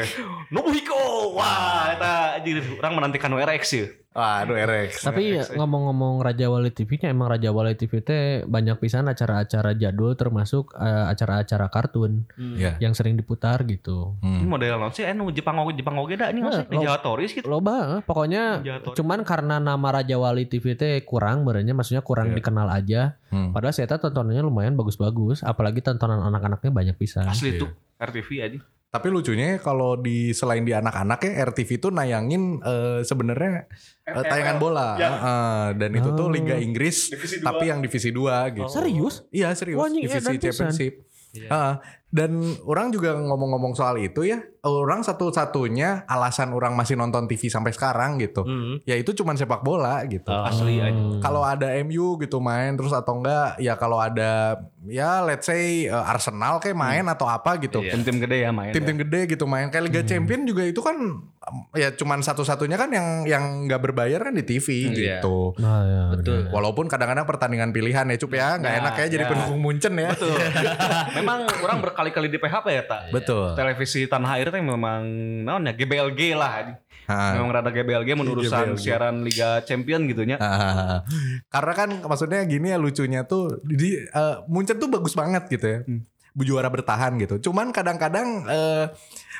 Speaker 3: Nobuhiko. Wah, eta anjir orang menantikan RX ya.
Speaker 2: Waduh RX.
Speaker 1: Tapi
Speaker 3: Saya- saya-
Speaker 1: ngomong-ngomong Raja Wali TV-nya emang Raja Wali TV teh banyak pisan acara-acara jadul termasuk eh, acara-acara kartun
Speaker 4: Hmm.
Speaker 2: Iya.
Speaker 1: yang sering diputar gitu.
Speaker 2: Hmm.
Speaker 3: Ini model naon sih anu Jepang oge Jepang oge da ini
Speaker 1: Nah,
Speaker 3: ngasih di
Speaker 1: lo-
Speaker 3: Jawa Toris gitu.
Speaker 1: Loba, eh,
Speaker 2: Nah,
Speaker 1: pokoknya
Speaker 3: Jawa Toris.
Speaker 1: cuman karena nama Raja Wali TV teh kurang berenya maksudnya kurang
Speaker 2: Iya.
Speaker 1: dikenal aja.
Speaker 2: Hmm.
Speaker 1: Padahal saya tahu tontonannya lumayan bagus-bagus, apalagi tontonan anak-anaknya banyak pisan.
Speaker 3: Asli
Speaker 2: Iya.
Speaker 3: tuh RTV aja.
Speaker 2: Tapi lucunya kalau di selain di anak-anak ya RTV tuh nayangin eh, sebenarnya eh, tayangan bola.
Speaker 3: Ya.
Speaker 2: Heeh, dan itu
Speaker 1: Oh.
Speaker 2: tuh Liga Inggris
Speaker 3: Divisi dua.
Speaker 2: tapi yang divisi 2 gitu.
Speaker 4: Oh.
Speaker 1: Serius?
Speaker 2: Iya serius
Speaker 1: Wah, anjing,
Speaker 2: divisi
Speaker 1: edan pisan.
Speaker 2: championship. Heeh. dan orang juga ngomong-ngomong soal itu ya, orang satu-satunya alasan orang masih nonton TV sampai sekarang gitu,
Speaker 4: Hmm.
Speaker 2: ya itu cuman sepak bola gitu.
Speaker 4: Oh.
Speaker 3: Asli
Speaker 1: Hmm.
Speaker 3: aja.
Speaker 2: Kalau ada MU gitu main terus atau enggak ya kalau ada ya let's say eh, Arsenal kayak main atau apa gitu.
Speaker 3: Iya. Tim-tim gede ya main.
Speaker 2: Tim-tim gede gitu main kayak Liga Champion juga itu kan em, ya cuman satu-satunya kan yang yang nggak berbayar kan di TV
Speaker 4: Hmm, iya.
Speaker 2: gitu.
Speaker 1: Nah, ya,
Speaker 4: Betul.
Speaker 1: benar.
Speaker 2: Walaupang Walaupun kadang-kadang pertandingan pilihan ya Cup ya nggak
Speaker 3: Ya,
Speaker 2: enak ya jadi
Speaker 3: ya.
Speaker 2: pendukung Munchen ya.
Speaker 3: Betul. memang orang berkali-kali di PHP ya tak.
Speaker 2: Betul.
Speaker 3: Televisi tanah air teh memang naon ya GBLG lah.
Speaker 2: Ha.
Speaker 3: Memang rada GBLG menurusan
Speaker 2: GBLG.
Speaker 3: siaran Liga Champion gitu nya.
Speaker 2: Ah, karena kan maksudnya gini ya lucunya tuh di eh, Munchen tuh bagus banget gitu ya.
Speaker 3: Hmm.
Speaker 2: Juara bertahan gitu. Cuman kadang-kadang eh,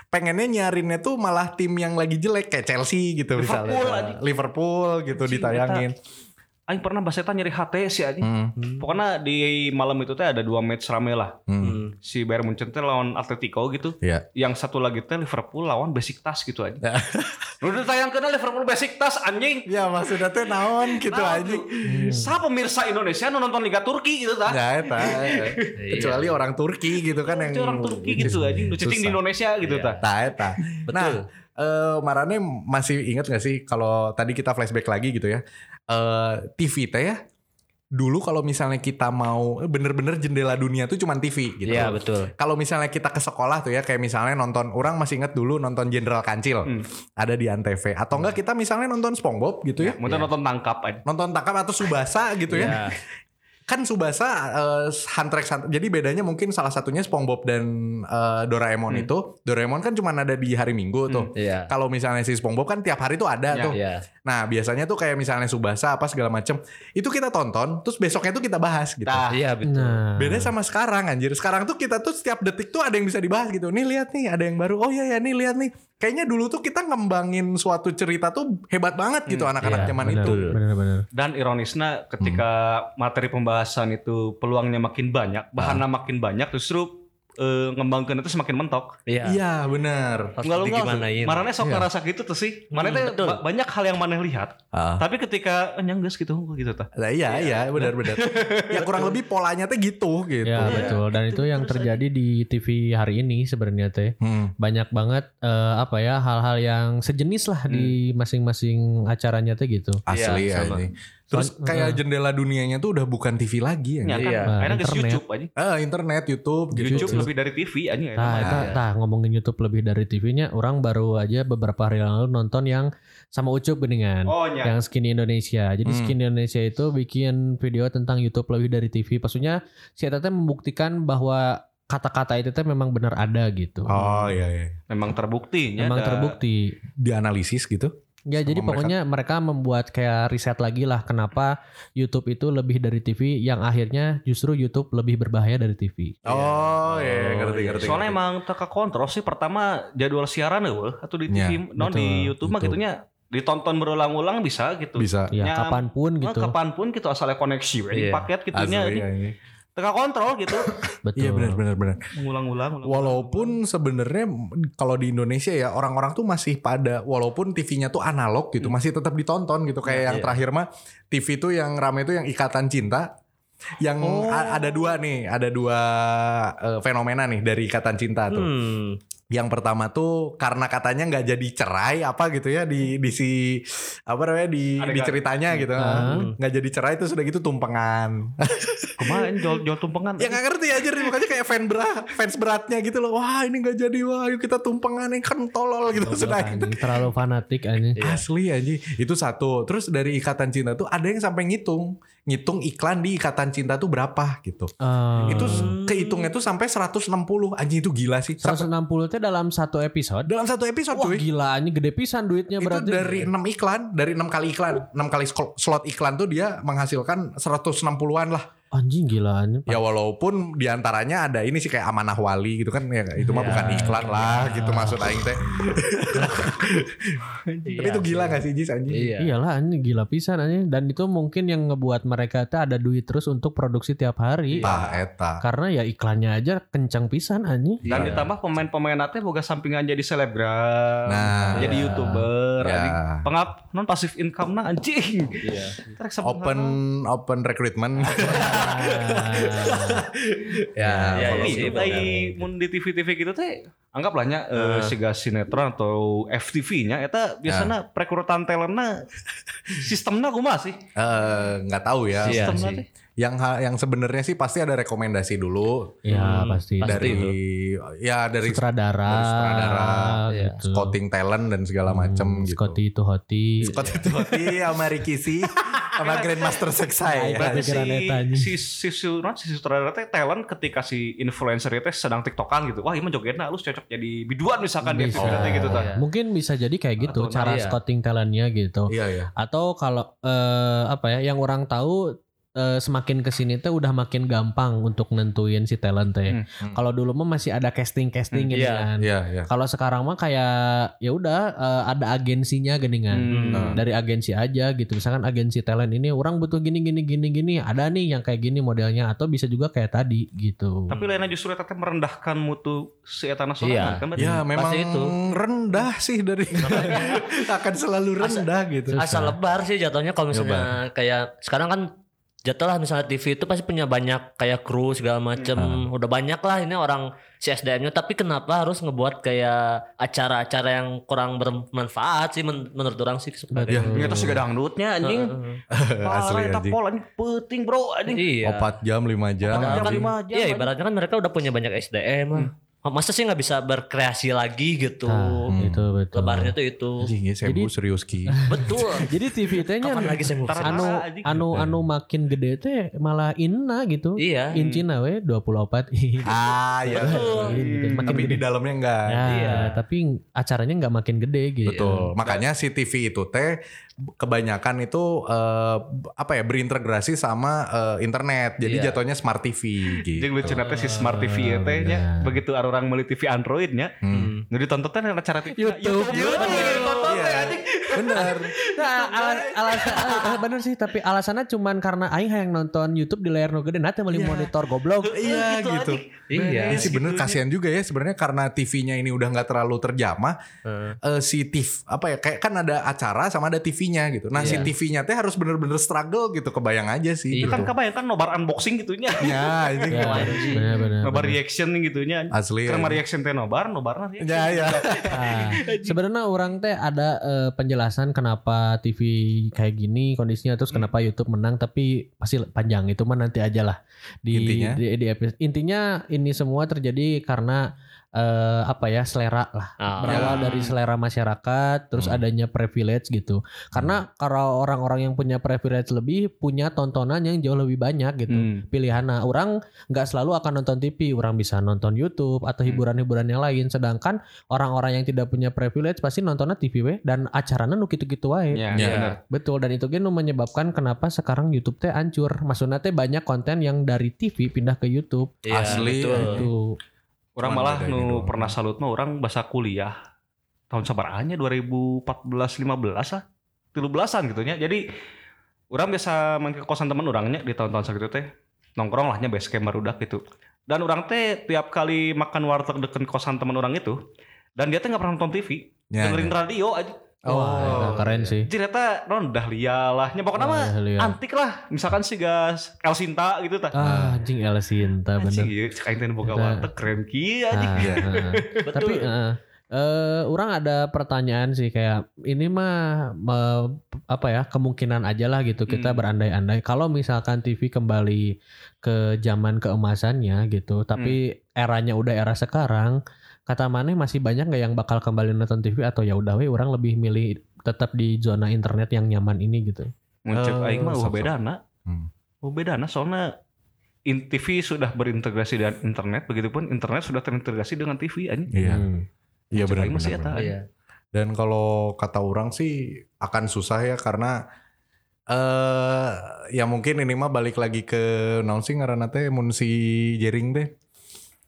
Speaker 2: pengennya nyarinnya tuh malah tim yang lagi jelek kayak Chelsea gitu
Speaker 3: Liverpool
Speaker 2: misalnya. Liverpool gitu
Speaker 3: Anjing,
Speaker 2: ditayangin.
Speaker 3: Aing pernah baseta nyari HT sih aja.
Speaker 2: Hmm,
Speaker 3: Pokoknya di malam itu teh ada dua match rame lah.
Speaker 2: hmm.
Speaker 4: Hmm.
Speaker 3: Si Bayern Munchen teh lawan Atletico gitu.
Speaker 2: Iya.
Speaker 3: Yang satu lagi teh Liverpool lawan Besiktas gitu aja. Udah tayang kena Liverpool Besiktas anjing.
Speaker 2: Ya maksudnya tuh naon gitu
Speaker 3: Nah,
Speaker 2: aja.
Speaker 3: Sa pemirsa Indonesia nu nonton Liga Turki gitu tah.
Speaker 2: Ya eta.
Speaker 4: Iya.
Speaker 2: Kecuali orang Turki gitu kan yang
Speaker 3: Itu Iya. orang Turki gitu aja, nu cicing di
Speaker 2: Susah.
Speaker 3: Indonesia gitu
Speaker 4: Iya.
Speaker 3: tah.
Speaker 2: Nah, eta. Nah,
Speaker 4: Betul.
Speaker 2: eh, Marane masih ingat gak sih kalau tadi kita flashback lagi gitu ya. Eh TV teh ya. Dulu kalau misalnya kita mau eh, bener-bener jendela dunia tuh cuman TV gitu.
Speaker 4: Iya betul.
Speaker 2: Kalau misalnya kita ke sekolah tuh ya kayak misalnya nonton orang masih inget dulu nonton Jenderal Kancil
Speaker 3: Hmm.
Speaker 2: ada di Antv atau enggak kita misalnya nonton SpongeBob gitu ya.
Speaker 3: Mau teh nonton tangkap aja.
Speaker 2: Nonton Takap atau Subasa gitu ya
Speaker 4: Iya.
Speaker 2: kan Subasa eh, Hunter x Hunter. Jadi bedanya mungkin salah satunya SpongeBob dan eh, Doraemon
Speaker 3: Hmm.
Speaker 2: itu. Doraemon kan cuma ada di hari Minggu tuh.
Speaker 4: Iya.
Speaker 2: Kalau misalnya si SpongeBob kan tiap hari tuh ada
Speaker 3: Ya,
Speaker 2: tuh.
Speaker 4: Iya.
Speaker 2: Nah, biasanya tuh kayak misalnya Subasa apa segala macem itu kita tonton, terus besoknya tuh kita bahas gitu.
Speaker 3: Nah,
Speaker 4: Iya betul.
Speaker 1: Nah,
Speaker 2: Beda sama sekarang anjir. Sekarang tuh kita tuh setiap detik tuh ada yang bisa dibahas gitu. Nih lihat nih, ada yang baru. Oh iya ya, nih lihat nih. Kayaknya dulu tuh kita ngembangin suatu cerita tuh hebat banget gitu anak-anak
Speaker 4: iya,
Speaker 2: zaman
Speaker 1: benar,
Speaker 2: itu.
Speaker 1: Benar-benar.
Speaker 3: Dan ironisnya ketika
Speaker 2: Hmm.
Speaker 3: materi pembahasan itu peluangnya
Speaker 2: Ah.
Speaker 3: makin banyak, bahannya makin banyak, justru eh, ngembangkan itu semakin mentok.
Speaker 4: Iya.
Speaker 2: Iya, benar.
Speaker 4: Harus
Speaker 3: Enggak lu
Speaker 4: digimanain.
Speaker 3: Marane sok
Speaker 2: Iya.
Speaker 3: ngerasa gitu tuh sih. Marane
Speaker 4: Hmm,
Speaker 3: teh
Speaker 4: betul.
Speaker 3: ba- banyak hal yang maneh lihat,
Speaker 2: Ah.
Speaker 3: tapi ketika eh, nyangges gitu gitu tah.
Speaker 2: Nah, iya, iya, benar-benar. ya kurang lebih polanya tuh gitu, gitu.
Speaker 1: Ya betul. Dan itu yang terjadi di TV hari ini sebenarnya teh.
Speaker 2: Hmm.
Speaker 1: banyak banget eh, apa ya hal-hal yang sejenis lah di
Speaker 2: Hmm.
Speaker 1: masing-masing acaranya tuh gitu. eh,
Speaker 2: Asli ya
Speaker 4: Iya, sama.
Speaker 2: ini. Terus kayak jendela dunianya tuh udah bukan TV lagi
Speaker 3: Ya
Speaker 2: anjir.
Speaker 3: kan,
Speaker 4: Iya.
Speaker 3: akhirnya geus
Speaker 1: Internet.
Speaker 3: YouTube aja.
Speaker 2: Eh, internet, YouTube, gitu.
Speaker 3: YouTube lebih dari TV aja ya.
Speaker 1: Nah,
Speaker 2: Iya.
Speaker 1: eta- tah, ngomongin YouTube lebih dari TV-nya, orang baru aja beberapa hari lalu nonton yang sama Ucup geningan.
Speaker 3: Oh nya.
Speaker 1: Yang Skin Indonesia. Jadi
Speaker 2: Ya. Hmm.
Speaker 1: Skin Indonesia itu bikin video tentang YouTube lebih dari TV. Maksudnya si Eta teh membuktikan bahwa kata-kata itu teh memang benar ada gitu.
Speaker 2: Oh iya iya.
Speaker 3: Memang terbukti iya. nya.
Speaker 1: Memang
Speaker 3: da-
Speaker 1: terbukti.
Speaker 2: Dianalisis gitu.
Speaker 1: Ya
Speaker 2: Sama
Speaker 1: jadi
Speaker 2: mereka.
Speaker 1: pokoknya mereka membuat kayak riset lagi lah kenapa YouTube itu lebih dari TV yang akhirnya justru YouTube lebih berbahaya dari TV.
Speaker 2: Oh iya, iya,
Speaker 4: Oh,
Speaker 2: ngerti
Speaker 4: iya.
Speaker 2: ngerti.
Speaker 3: Soalnya
Speaker 2: ngerti.
Speaker 3: emang teka kontrol sih pertama jadwal siaran eueuh atau di
Speaker 2: Ya,
Speaker 3: TV, non di
Speaker 1: betul,
Speaker 3: YouTube mah
Speaker 2: betul.
Speaker 3: gitunya ditonton berulang-ulang bisa gitu.
Speaker 2: bisa
Speaker 1: Ya,
Speaker 3: Ya,
Speaker 1: kapanpun
Speaker 3: Nah,
Speaker 1: gitu.
Speaker 3: kapanpun gitu asalnya koneksi we, di
Speaker 4: Iya.
Speaker 3: paket gitunya
Speaker 2: asli
Speaker 3: di-
Speaker 2: ya ini.
Speaker 3: teka kontrol gitu
Speaker 1: Betul.
Speaker 2: Iya benar benar benar.
Speaker 3: mengulang-ulang ulang.
Speaker 2: Walaupun sebenarnya kalau di Indonesia ya orang-orang tuh masih pada walaupun TV-nya tuh analog gitu, masih tetap ditonton gitu. Kayak yang
Speaker 4: iya.
Speaker 2: terakhir mah TV tuh yang rame tuh yang Ikatan Cinta yang
Speaker 3: Oh.
Speaker 2: a- ada dua nih, ada dua eh, fenomena nih dari Ikatan Cinta tuh.
Speaker 4: Hmm.
Speaker 2: Yang pertama tuh karena katanya nggak jadi cerai apa gitu ya di di si apa namanya di
Speaker 3: Adegan.
Speaker 2: di ceritanya gitu.
Speaker 1: Hmm.
Speaker 2: Nggak jadi cerai itu sudah gitu tumpengan.
Speaker 3: kemarin jual jual tumpengan
Speaker 2: ya nggak ngerti aja nih makanya kayak fan berat, fans beratnya gitu loh. Wah, ini nggak jadi wah, yuk kita tumpengan yang kan tolol gitu
Speaker 1: Goblok,
Speaker 2: sudah gitu.
Speaker 1: anjing. terlalu fanatik anjing.
Speaker 2: Asli aja Itu satu Terus dari ikatan cinta tuh Ada yang sampai ngitung Ngitung iklan di ikatan cinta tuh berapa gitu
Speaker 1: Eh,
Speaker 2: Itu s- kehitungnya tuh sampai 160 Anjing itu gila sih Sampai-
Speaker 1: 160 teh dalam satu episode.
Speaker 2: Dalam satu episode
Speaker 1: Wah
Speaker 2: cuy
Speaker 1: gila anjing gede pisan duitnya
Speaker 2: itu
Speaker 1: berarti.
Speaker 2: dari 6 iklan dari 6 kali iklan 6 kali skol- slot iklan tuh dia menghasilkan 160-an lah
Speaker 1: anjing gila anjing.
Speaker 2: ya walaupun diantaranya ada ini sih kayak amanah wali gitu kan ya itu mah
Speaker 4: Ya,
Speaker 2: bukan iklan lah gitu maksud aing teh tapi
Speaker 4: Iya
Speaker 2: itu gila
Speaker 4: sih.
Speaker 2: gak sih Jis anjing
Speaker 4: Iya.
Speaker 1: Iyalah anjing gila pisan anjing dan itu mungkin yang ngebuat mereka teh ada duit terus untuk produksi tiap hari.
Speaker 2: Tah, eta
Speaker 1: Karena ya iklannya aja kencang pisan anjing.
Speaker 3: dan
Speaker 4: Iya.
Speaker 3: ditambah pemain-pemain nanti boga sampingan jadi selebgram
Speaker 2: Nah.
Speaker 3: jadi
Speaker 4: Iya.
Speaker 3: youtuber
Speaker 2: Ya.
Speaker 3: anjing. pengap non pasif income nah anjing
Speaker 4: Iya.
Speaker 3: Terek sebenarnya.
Speaker 2: open open recruitment ya,
Speaker 3: iya.
Speaker 4: Ya,
Speaker 2: kalau
Speaker 4: ya,
Speaker 2: gitu
Speaker 4: sih,
Speaker 3: Tapi
Speaker 2: kan.
Speaker 4: baik.
Speaker 3: dari mun di TV-TV gitu teh anggaplah nya eh,
Speaker 4: Eh.
Speaker 3: siga sinetron atau FTV-nya eta biasanya perekrutan talentna sistemnya kumaha sih?
Speaker 2: Eh, nggak tahu ya.
Speaker 4: Iya
Speaker 3: Sistemna
Speaker 4: sih.
Speaker 3: teh.
Speaker 2: Yang ha- yang sebenarnya sih pasti ada rekomendasi dulu
Speaker 3: Hmm,
Speaker 1: ya pasti
Speaker 4: Pasti
Speaker 2: dari
Speaker 4: itu.
Speaker 2: ya dari
Speaker 1: sutradara,
Speaker 2: dari sutradara,
Speaker 4: iya.
Speaker 1: gitu.
Speaker 2: scouting talent dan segala
Speaker 1: Hmm,
Speaker 2: macem gitu.
Speaker 1: Scotty itu Hoti.
Speaker 2: Scott itu sama Ricky sih sama Grandmaster Seksai.
Speaker 1: Nah,
Speaker 3: Berarti si,
Speaker 1: pikiran eta anjing.
Speaker 3: si, si, si, non, si sutradara teh talent ketika si influencer teh sedang tiktokan gitu. Wah, ini mah jogena lu cocok jadi biduan misalkan di
Speaker 1: Bisa.
Speaker 3: FTV teh gitu tah.
Speaker 4: Iya.
Speaker 1: Mungkin bisa jadi kayak gitu
Speaker 3: Atau
Speaker 1: cara
Speaker 4: iya.
Speaker 1: scouting talentnya gitu.
Speaker 2: Iya ya.
Speaker 1: Atau kalau eh, apa ya yang orang tahu eh, semakin kesini teh udah makin gampang untuk nentuin si talent teh.
Speaker 3: Hmm.
Speaker 2: Hmm.
Speaker 1: Kalau dulu mah masih ada casting casting
Speaker 4: Hmm,
Speaker 1: gitu
Speaker 4: iya.
Speaker 1: kan.
Speaker 2: Iya ya.
Speaker 1: Kalau sekarang mah kayak ya udah eh, ada agensinya geningan.
Speaker 3: Hmm.
Speaker 1: Dari agensi aja gitu. Misalkan agensi talent ini orang butuh gini gini gini gini. Ada nih yang kayak gini modelnya atau bisa juga kayak tadi gitu.
Speaker 3: Tapi lainnya justru eta teh merendahkan mutu si eta nasional
Speaker 4: Iya.
Speaker 3: kan berarti.
Speaker 2: Ya memang
Speaker 4: Pasti itu.
Speaker 2: rendah sih dari akan selalu rendah gitu.
Speaker 1: Susah.
Speaker 4: Asal lebar sih jatuhnya kalau misalnya kayak sekarang kan jatuh lah misalnya TV itu pasti punya banyak kayak kru segala macem udah banyak lah ini orang si SDM-nya tapi kenapa harus ngebuat kayak acara-acara yang kurang bermanfaat sih men- menurut orang Iya, sih sebagai
Speaker 2: Ya,
Speaker 1: Iya.
Speaker 3: Ini eta siga dangdutnya anjing.
Speaker 2: eh,
Speaker 4: Heeh.
Speaker 2: Asli
Speaker 3: Parah eta
Speaker 2: anjing.
Speaker 3: pol anjing penting bro anjing.
Speaker 4: Iya.
Speaker 2: Oh, 4 jam 5 jam.
Speaker 4: Padahal kan,
Speaker 2: anjing.
Speaker 3: lima jam,
Speaker 4: iya
Speaker 3: anjing.
Speaker 4: ibaratnya kan mereka udah punya banyak SDM lah. Masa sih nggak bisa berkreasi lagi gitu.
Speaker 1: Nah,
Speaker 2: Hmm.
Speaker 1: itu betul.
Speaker 4: Lebarnya tuh itu.
Speaker 2: Anjing ya saya
Speaker 1: Jadi-
Speaker 2: serius ki.
Speaker 4: Betul.
Speaker 1: Jadi TV-nya
Speaker 4: Kapan lagi
Speaker 3: Ntar-
Speaker 4: saya ngurusin?
Speaker 1: anu
Speaker 3: Rasa, anjing.
Speaker 1: anu anu makin gede teh malah inna gitu.
Speaker 4: Iya.
Speaker 1: Incina we 24.
Speaker 2: Ah ya.
Speaker 4: Betul.
Speaker 1: Gitu, Iya. makin
Speaker 2: Hmm. Tapi di
Speaker 1: gede.
Speaker 2: dalamnya enggak.
Speaker 1: Ya,
Speaker 4: Iya.
Speaker 1: tapi acaranya nggak makin gede gitu.
Speaker 2: Betul. Makanya si TV itu teh kebanyakan itu eh, apa ya berintegrasi sama eh, internet. Jadi
Speaker 4: Iya.
Speaker 2: jatuhnya smart TV gitu.
Speaker 3: Jeung lucu teh si Smart TV teh nya
Speaker 1: Bener.
Speaker 3: begitu orang meuli TV Android nya
Speaker 2: Iya. Hmm.
Speaker 3: nu ditonton teh dengan acara TV
Speaker 1: Ya, YouTube.
Speaker 3: YouTube
Speaker 2: Iya.
Speaker 3: ditonton teh anjing.
Speaker 2: Bener.
Speaker 1: Nah, ala- alasan ah, bener sih, tapi alasannya cuman karena aing hayang nonton YouTube di layar nu gede nah teh meuli
Speaker 2: Iya.
Speaker 1: monitor goblok.
Speaker 2: Iya gitu.
Speaker 4: Iya.
Speaker 2: Iya sih bener kasihan juga ya sebenarnya karena TV-nya ini udah nggak terlalu terjamah eh, si TV apa ya kayak kan ada acara sama ada TV-nya gitu. Nah si
Speaker 4: Iya.
Speaker 2: TV-nya teh harus bener-bener struggle gitu kebayang aja sih.
Speaker 4: Iya.
Speaker 2: gitu.
Speaker 3: kan kebayangkan nobar unboxing gitunya
Speaker 2: Ya, ini
Speaker 1: Ya,
Speaker 2: kebayang.
Speaker 1: bener bener.
Speaker 2: Iya,
Speaker 3: nobar
Speaker 1: bener.
Speaker 3: reaction gitunya
Speaker 2: asli.
Speaker 3: Karena reaction teh nobar nobarna sih
Speaker 2: Ya ya.
Speaker 1: Ah, Sebenarnya orang teh ada eh, penjelasan kenapa TV kayak gini kondisinya
Speaker 2: Hmm.
Speaker 1: terus kenapa YouTube menang tapi pasti panjang itu mah nanti aja lah di
Speaker 2: Intinya?
Speaker 1: di, di episode. Intinya ini semua terjadi karena eh, apa ya selera lah
Speaker 4: Ah,
Speaker 1: berawal
Speaker 2: Ya.
Speaker 1: dari selera masyarakat terus
Speaker 2: Hmm.
Speaker 1: adanya privilege gitu karena kalau orang-orang yang punya privilege lebih punya tontonan yang jauh lebih banyak
Speaker 2: iya.
Speaker 1: gitu
Speaker 3: Hmm.
Speaker 1: pilihan. Nah, orang nggak selalu akan nonton TV, orang bisa nonton YouTube atau
Speaker 3: Hmm.
Speaker 1: hiburan-hiburan yang lain. Sedangkan orang-orang yang tidak punya privilege pasti nontonnya TV we dan acaranya nu gitu-gitu wae.
Speaker 3: Ya,
Speaker 2: Ya.
Speaker 3: bener.
Speaker 1: Betul dan itu ge nu menyebabkan kenapa sekarang YouTube teh hancur. Maksudnya teh banyak konten yang dari TV pindah ke YouTube.
Speaker 2: Asli,
Speaker 4: iya, Betul.
Speaker 1: Itu
Speaker 3: Orang
Speaker 2: Cuman
Speaker 3: malah
Speaker 2: beda ini
Speaker 3: nu
Speaker 2: doang.
Speaker 3: pernah salut mah orang bahasa kuliah tahun sabaraannya 2014 15 lah. 13-an ah. gitu nya. Jadi orang biasa main ke kosan teman orangnya di tahun-tahun segitu teh nongkrong lahnya base camp barudak gitu. Dan orang teh tiap kali makan warteg deket kosan teman orang itu dan dia teh nggak pernah nonton TV,
Speaker 2: Ya,
Speaker 3: dengerin radio aja.
Speaker 2: Oh,
Speaker 1: wah ya, eta keren sih. Iya,
Speaker 3: Jadi eta rondah lialah. Nya
Speaker 2: Oh,
Speaker 3: pokoknya mah
Speaker 1: Wah,
Speaker 2: ya.
Speaker 1: lihat.
Speaker 3: antik lah. Misalkan si gas El Sinta gitu tah.
Speaker 1: Ah, anjing El
Speaker 2: ya,
Speaker 1: Sinta
Speaker 3: Anjing
Speaker 1: bener.
Speaker 3: ieu cek aing teh nu
Speaker 1: Eta-
Speaker 3: boga warteg keren kieu anjing.
Speaker 1: Ah,
Speaker 2: Iya.
Speaker 1: ah. Tapi eh, eh, orang ada pertanyaan sih kayak ini mah me- apa ya kemungkinan aja lah gitu kita
Speaker 3: Hmm.
Speaker 1: berandai-andai kalau misalkan TV kembali ke zaman keemasannya gitu tapi
Speaker 2: Hmm.
Speaker 1: eranya udah era sekarang kata maneh masih banyak nggak yang bakal kembali nonton TV atau ya udah we orang lebih milih tetap di zona internet yang nyaman ini gitu.
Speaker 3: Muncul
Speaker 2: Eh,
Speaker 3: aing mah
Speaker 2: sok-sok.
Speaker 3: udah bedana.
Speaker 2: Hmm.
Speaker 3: Udah bedana soalnya in TV sudah berintegrasi dengan internet, begitupun internet sudah terintegrasi dengan TV anjing.
Speaker 2: Iya.
Speaker 1: Hmm.
Speaker 2: Iya
Speaker 3: Cek
Speaker 2: benar.
Speaker 3: aing masih
Speaker 2: benar,
Speaker 3: eta.
Speaker 2: benar.
Speaker 4: Iya.
Speaker 2: Dan kalau kata orang sih akan susah ya karena eh ya mungkin ini mah balik lagi ke naon sih ngaranna teh mun si Jering teh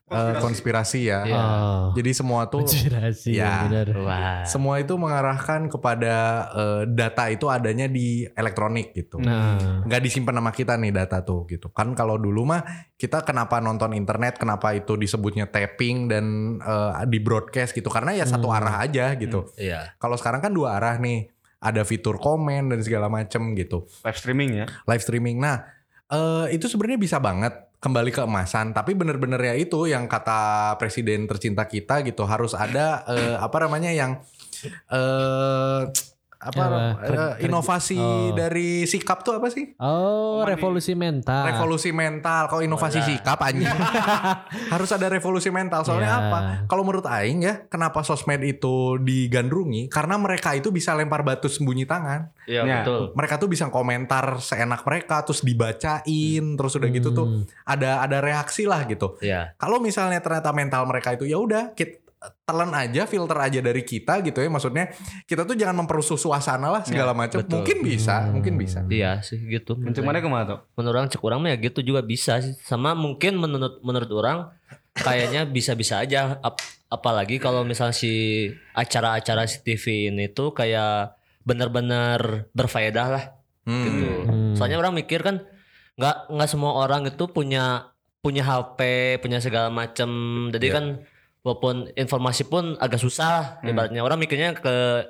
Speaker 2: Eh, konspirasi ya.
Speaker 4: Iya.
Speaker 1: Oh,
Speaker 2: Jadi semua tuh
Speaker 1: konspirasi
Speaker 2: Ya.
Speaker 1: ya, benar.
Speaker 4: Wah.
Speaker 2: semua itu mengarahkan kepada eh, data itu adanya di elektronik gitu.
Speaker 1: Nah,
Speaker 2: nggak disimpan sama kita nih data tuh gitu kan kalau dulu mah kita kenapa nonton internet kenapa itu disebutnya tapping dan eh, di broadcast gitu karena ya satu
Speaker 1: Hmm.
Speaker 2: arah aja gitu
Speaker 4: Iya.
Speaker 2: kalau sekarang kan dua arah nih ada fitur komen dan segala macem gitu Iya.
Speaker 3: Live streaming ya.
Speaker 2: live streaming nah Eh, itu sebenarnya bisa banget kembali ke emasan tapi bener-bener ya itu yang kata presiden tercinta kita gitu harus ada eh, apa namanya yang eh apa
Speaker 1: Apa?
Speaker 2: eh,
Speaker 1: Ter- ter-
Speaker 2: inovasi
Speaker 1: oh.
Speaker 2: dari sikap tuh apa sih
Speaker 1: Oh,
Speaker 3: Mandi.
Speaker 1: revolusi mental.
Speaker 2: revolusi mental kalau inovasi
Speaker 4: Wala.
Speaker 2: sikap anjing harus ada revolusi mental soalnya
Speaker 1: Ya.
Speaker 2: apa kalau menurut aing ya kenapa sosmed itu digandrungi karena mereka itu bisa lempar batu sembunyi tangan
Speaker 4: Iya
Speaker 3: Ya.
Speaker 4: betul.
Speaker 2: mereka tuh bisa komentar seenak mereka terus dibacain terus udah gitu tuh
Speaker 1: Hmm.
Speaker 2: ada ada reaksi lah gitu
Speaker 4: Iya.
Speaker 2: kalau misalnya ternyata mental mereka itu ya udah kita telan aja filter aja dari kita gitu ya maksudnya kita tuh jangan memperusuh suasana lah segala macam
Speaker 4: betul.
Speaker 2: mungkin bisa
Speaker 1: Hmm.
Speaker 2: mungkin bisa
Speaker 4: Iya sih gitu.
Speaker 3: Kencing mana kemana tuh?
Speaker 4: Menurut orang cek orang mah ya gitu juga bisa sih. Sama mungkin menurut menurut orang kayaknya bisa-bisa aja Ap- apalagi kalau misal si acara-acara si TV ini tuh kayak benar-benar berfaedah lah
Speaker 2: Hmm.
Speaker 4: gitu.
Speaker 1: Hmm.
Speaker 4: Soalnya orang mikir kan nggak nggak semua orang itu punya punya HP, punya segala macem. Jadi
Speaker 2: Iya.
Speaker 4: kan walaupun informasi pun agak susah lah.
Speaker 3: Hmm.
Speaker 4: ibaratnya orang mikirnya ke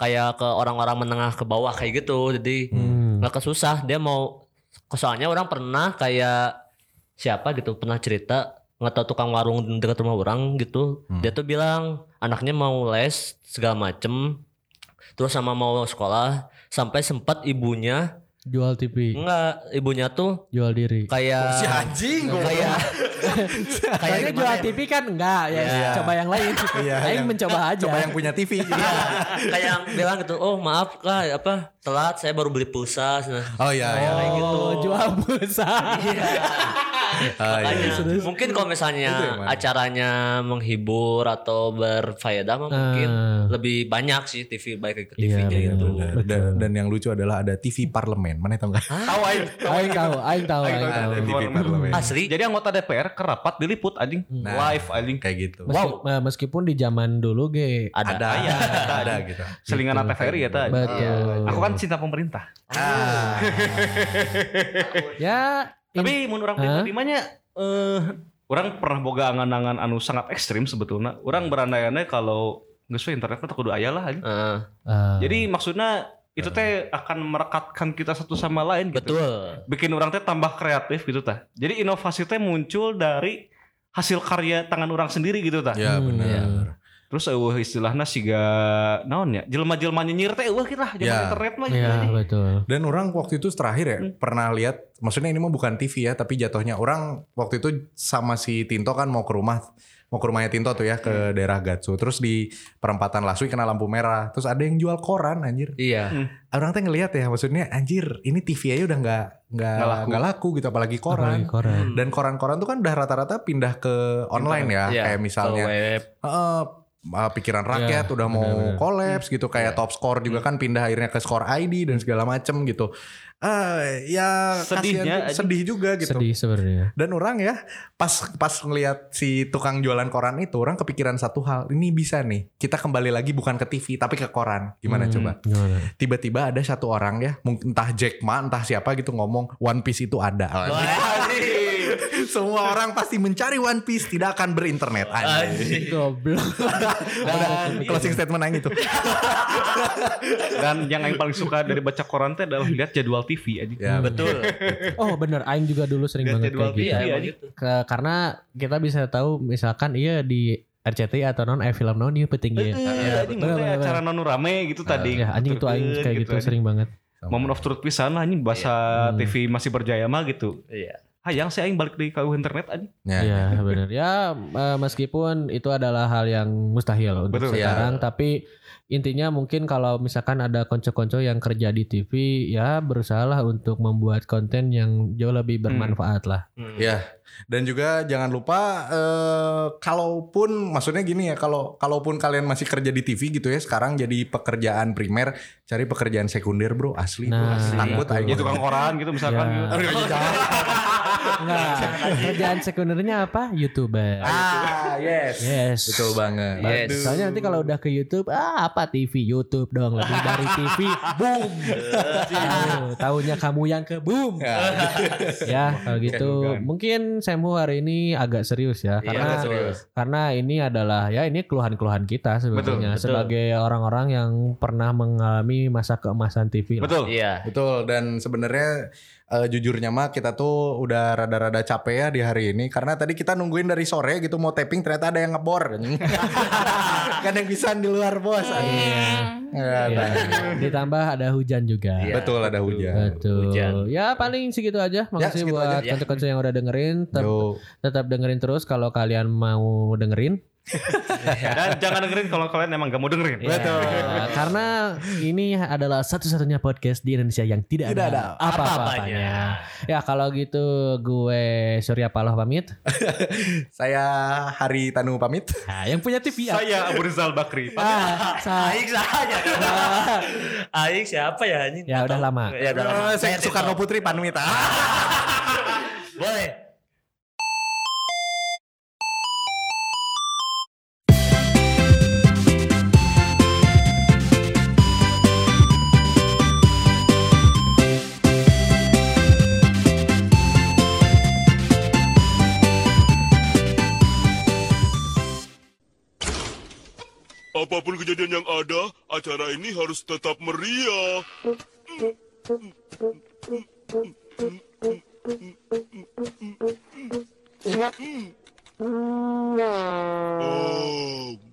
Speaker 4: kayak ke orang-orang menengah ke bawah kayak gitu. Jadi
Speaker 1: Hmm.
Speaker 4: nggak kesusah dia mau soalnya orang pernah kayak siapa gitu pernah cerita nggak tahu tukang warung dekat rumah orang gitu
Speaker 2: Hmm.
Speaker 4: dia tuh bilang anaknya mau les segala macem terus sama mau sekolah sampai sempat ibunya
Speaker 1: Jual TV,
Speaker 4: enggak ibunya tuh
Speaker 1: jual diri.
Speaker 2: si
Speaker 4: kayak
Speaker 2: anjing gua
Speaker 4: kayak kayak
Speaker 1: Kayaknya
Speaker 4: gimana
Speaker 1: jual
Speaker 4: ya?
Speaker 1: TV kan enggak ya.
Speaker 2: Iya.
Speaker 1: Coba yang lain.
Speaker 2: Iya,
Speaker 1: Aing
Speaker 2: yang-
Speaker 1: mencoba aja.
Speaker 2: coba yang punya TV gitu.
Speaker 4: kayak yang bilang gitu oh maaf kak apa telat saya baru beli pulsa
Speaker 2: oh ya ya
Speaker 4: kayak
Speaker 1: oh,
Speaker 4: gitu.
Speaker 1: jual pulsa.
Speaker 2: Iya. Ah, iya.
Speaker 4: Makanya,
Speaker 1: Serius.
Speaker 4: mungkin
Speaker 2: Itu
Speaker 4: kalau
Speaker 2: yang
Speaker 4: misalnya
Speaker 2: mana?
Speaker 4: acaranya menghibur atau berfaedah mah mungkin
Speaker 1: Ah.
Speaker 4: lebih banyak sih TV baik ke
Speaker 1: Iya,
Speaker 4: TV-nya
Speaker 1: benar,
Speaker 4: itu.
Speaker 1: benar.
Speaker 2: dan, dan yang lucu adalah ada TV parlemen mana tau nggak
Speaker 3: Tahu aing.
Speaker 1: Aing tahu, aing tahu, aing
Speaker 3: Aing
Speaker 1: tahu.
Speaker 2: ada TV
Speaker 3: Parlemen.
Speaker 2: parlemen
Speaker 4: Asli.
Speaker 3: Jadi anggota DPR kerapat diliput anjing
Speaker 2: Nah.
Speaker 3: live anjing
Speaker 2: kayak gitu
Speaker 1: Meski- eh, meskipun di zaman dulu ge
Speaker 4: Ada.
Speaker 2: ada
Speaker 3: Iya,
Speaker 2: ada,
Speaker 3: ada.
Speaker 2: ada gitu
Speaker 3: selingan
Speaker 1: Gitu.
Speaker 3: TVRI ya tadi.
Speaker 1: Betul.
Speaker 3: Aku kan cinta pemerintah.
Speaker 2: Ah.
Speaker 1: ya
Speaker 3: Tapi menurut orang
Speaker 1: Hah?
Speaker 3: pribadi mah nya, eh orang pernah boga angan-angan anu sangat ekstrim sebetulnya. Orang berandai-andai kalau geus we internet mah teu kudu aya lah anjing.
Speaker 4: Heeh,
Speaker 1: eh,
Speaker 3: Jadi maksudnya itu teh akan merekatkan kita satu sama lain gitu.
Speaker 4: betul.
Speaker 3: Bikin orang teh tambah kreatif gitu tah. Jadi inovasi teh muncul dari hasil karya tangan orang sendiri gitu tah.
Speaker 2: ya
Speaker 1: Hmm, iya.
Speaker 2: benar
Speaker 3: Terus eueuh istilahnya siga naon ya? Jelema-jelema nyinyir teh eueuh kita zaman
Speaker 4: Iya.
Speaker 2: Ya.
Speaker 3: internet mah gitu.
Speaker 1: ya betul.
Speaker 2: Dan orang waktu itu terakhir ya
Speaker 3: Hmm.
Speaker 2: pernah lihat, maksudnya ini mah bukan TV ya, tapi jatuhnya orang waktu itu sama si Tinto kan mau ke rumah, mau ke rumahnya Tinto tuh ya ke
Speaker 3: Hmm.
Speaker 2: daerah Gatsu. Terus di perempatan Lasui kena lampu merah. Terus ada yang jual koran anjir.
Speaker 4: Iya.
Speaker 2: Orang teh ngelihat ya, maksudnya anjir ini TV aja udah nggak nggak
Speaker 3: Nggak laku.
Speaker 2: nggak laku. gitu, apalagi koran.
Speaker 1: Apalagi koran.
Speaker 4: Hmm.
Speaker 2: Dan koran-koran tuh kan udah rata-rata pindah ke online ya,
Speaker 4: Iya,
Speaker 2: kayak misalnya
Speaker 4: ke web.
Speaker 2: Heeh, uh, pikiran rakyat
Speaker 1: Iya,
Speaker 2: udah mau
Speaker 1: benar-benar.
Speaker 2: collapse gitu kayak
Speaker 4: Iya.
Speaker 2: top score juga kan pindah akhirnya ke score ID dan segala macem gitu. Eh ya kasihan,
Speaker 3: Sedihnya aja.
Speaker 2: sedih juga gitu.
Speaker 1: Sedih sebenarnya.
Speaker 2: Dan orang ya pas pas ngelihat si tukang jualan koran itu orang kepikiran satu hal, ini bisa nih. Kita kembali lagi bukan ke TV tapi ke koran. Gimana
Speaker 1: Hmm,
Speaker 2: coba?
Speaker 1: Gimana?
Speaker 2: Tiba-tiba ada satu orang ya, mungkin entah Jack Ma, entah siapa gitu ngomong One Piece itu ada. Semua orang pasti mencari One Piece, tidak akan berinternet.
Speaker 4: Ah,
Speaker 2: Anjing.
Speaker 4: iya.
Speaker 1: Goblok.
Speaker 2: Dan closing statement aing itu.
Speaker 3: Dan yang yang paling suka dari baca koran teh adalah lihat jadwal TV
Speaker 1: Iya.
Speaker 3: aja.
Speaker 2: Ya,
Speaker 4: Betul.
Speaker 1: Oh bener, Aing juga dulu sering
Speaker 3: Lihat
Speaker 1: banget
Speaker 3: jadwal
Speaker 1: kayak gitu.
Speaker 4: Iya,
Speaker 3: Iya,
Speaker 4: emang
Speaker 3: iya.
Speaker 4: gitu.
Speaker 1: Ke- karena kita bisa tahu misalkan iya di RCTI atau non eh, film non itu penting ya.
Speaker 3: Iya, anjing
Speaker 1: Bener,
Speaker 3: maksudnya
Speaker 1: bener,
Speaker 3: acara nonu rame gitu tadi.
Speaker 1: Ya anjing itu aing
Speaker 3: Turun,
Speaker 1: kayak gitu
Speaker 3: anjing.
Speaker 1: sering banget.
Speaker 3: Momen of truth pisan lah anjing bahasa
Speaker 1: Iya. Hmm.
Speaker 3: TV masih berjaya mah gitu.
Speaker 4: Iya.
Speaker 3: Hayang sih aing balik di KU internet anjing.
Speaker 2: Ya.
Speaker 1: Iya bener. Ya eh, meskipun itu adalah hal yang mustahil untuk
Speaker 3: Betul, iya.
Speaker 2: ya.
Speaker 1: sekarang, tapi intinya mungkin kalau misalkan ada konco-konco yang kerja di TV, ya berusahalah untuk membuat konten yang jauh lebih bermanfaat lah.
Speaker 4: Hmm.
Speaker 2: Ya. Dan juga jangan lupa eh, kalaupun maksudnya gini ya kalau kalaupun kalian masih kerja di TV gitu ya sekarang jadi pekerjaan primer cari pekerjaan sekunder bro asli bro.
Speaker 1: Nah,
Speaker 2: Asli. takut
Speaker 1: betul.
Speaker 2: Iya. aing.
Speaker 3: Ya
Speaker 4: Iya.
Speaker 3: tukang koran gitu misalkan
Speaker 1: Ya.
Speaker 3: gitu.
Speaker 2: Aduh, jangan.
Speaker 3: Nah.
Speaker 1: Enggak, kerjaan sekundernya apa? Youtuber.
Speaker 2: ah yes.
Speaker 1: Yes.
Speaker 2: Betul banget.
Speaker 4: Yes. Iya,
Speaker 2: Aduh.
Speaker 1: Soalnya nanti kalau udah ke YouTube, ah apa TV? YouTube dong lebih dari TV. Boom. Tahu, tahunya kamu yang ke boom.
Speaker 2: Ya.
Speaker 1: ya, kalau gitu
Speaker 3: bukan.
Speaker 1: mungkin Semu hari ini agak serius ya
Speaker 4: Iya,
Speaker 1: karena
Speaker 4: betul.
Speaker 1: karena ini adalah ya ini keluhan-keluhan kita sebetulnya
Speaker 4: Betul, betul.
Speaker 1: sebagai orang-orang yang pernah mengalami masa keemasan TV. lah.
Speaker 3: Betul.
Speaker 4: Iya.
Speaker 2: Betul dan sebenarnya eh, jujurnya mah kita tuh udah rada-rada capek ya di hari ini karena tadi kita nungguin dari sore gitu mau taping ternyata ada yang ngebor. kan yang bisa di luar bos. Ya,
Speaker 1: Iya.
Speaker 2: nah.
Speaker 1: Ditambah ada hujan juga.
Speaker 4: Iya.
Speaker 2: Betul ada hujan.
Speaker 1: Betul.
Speaker 4: Hujan.
Speaker 1: Ya paling segitu aja. Makasih
Speaker 2: segitu
Speaker 1: buat
Speaker 2: aja.
Speaker 4: Ya.
Speaker 1: konco-konco yang udah dengerin. Tetap,
Speaker 2: Yo.
Speaker 1: tetap dengerin terus kalau kalian mau dengerin.
Speaker 3: Dan jangan dengerin kalau kalian emang gak mau dengerin.
Speaker 4: Iya.
Speaker 2: Betul.
Speaker 1: Eh, karena ini adalah satu-satunya podcast di Indonesia yang tidak,
Speaker 2: Tidak
Speaker 1: ada
Speaker 2: ada
Speaker 1: apa-apanya. Ya kalau gitu gue Surya Paloh pamit.
Speaker 2: Saya Hari Tanu pamit.
Speaker 1: Nah, yang punya TV ya.
Speaker 3: Saya Abu Rizal Bakri.
Speaker 1: Ah, sa-
Speaker 4: Aik saja. Aik siapa ya anjing?
Speaker 1: Ya, udah lama.
Speaker 4: Ya udah lama.
Speaker 2: Eh, Saya Soekarno Putri pamit. Ah.
Speaker 4: Boleh.
Speaker 5: Apapun kejadian yang ada, acara ini harus tetap meriah. Oh.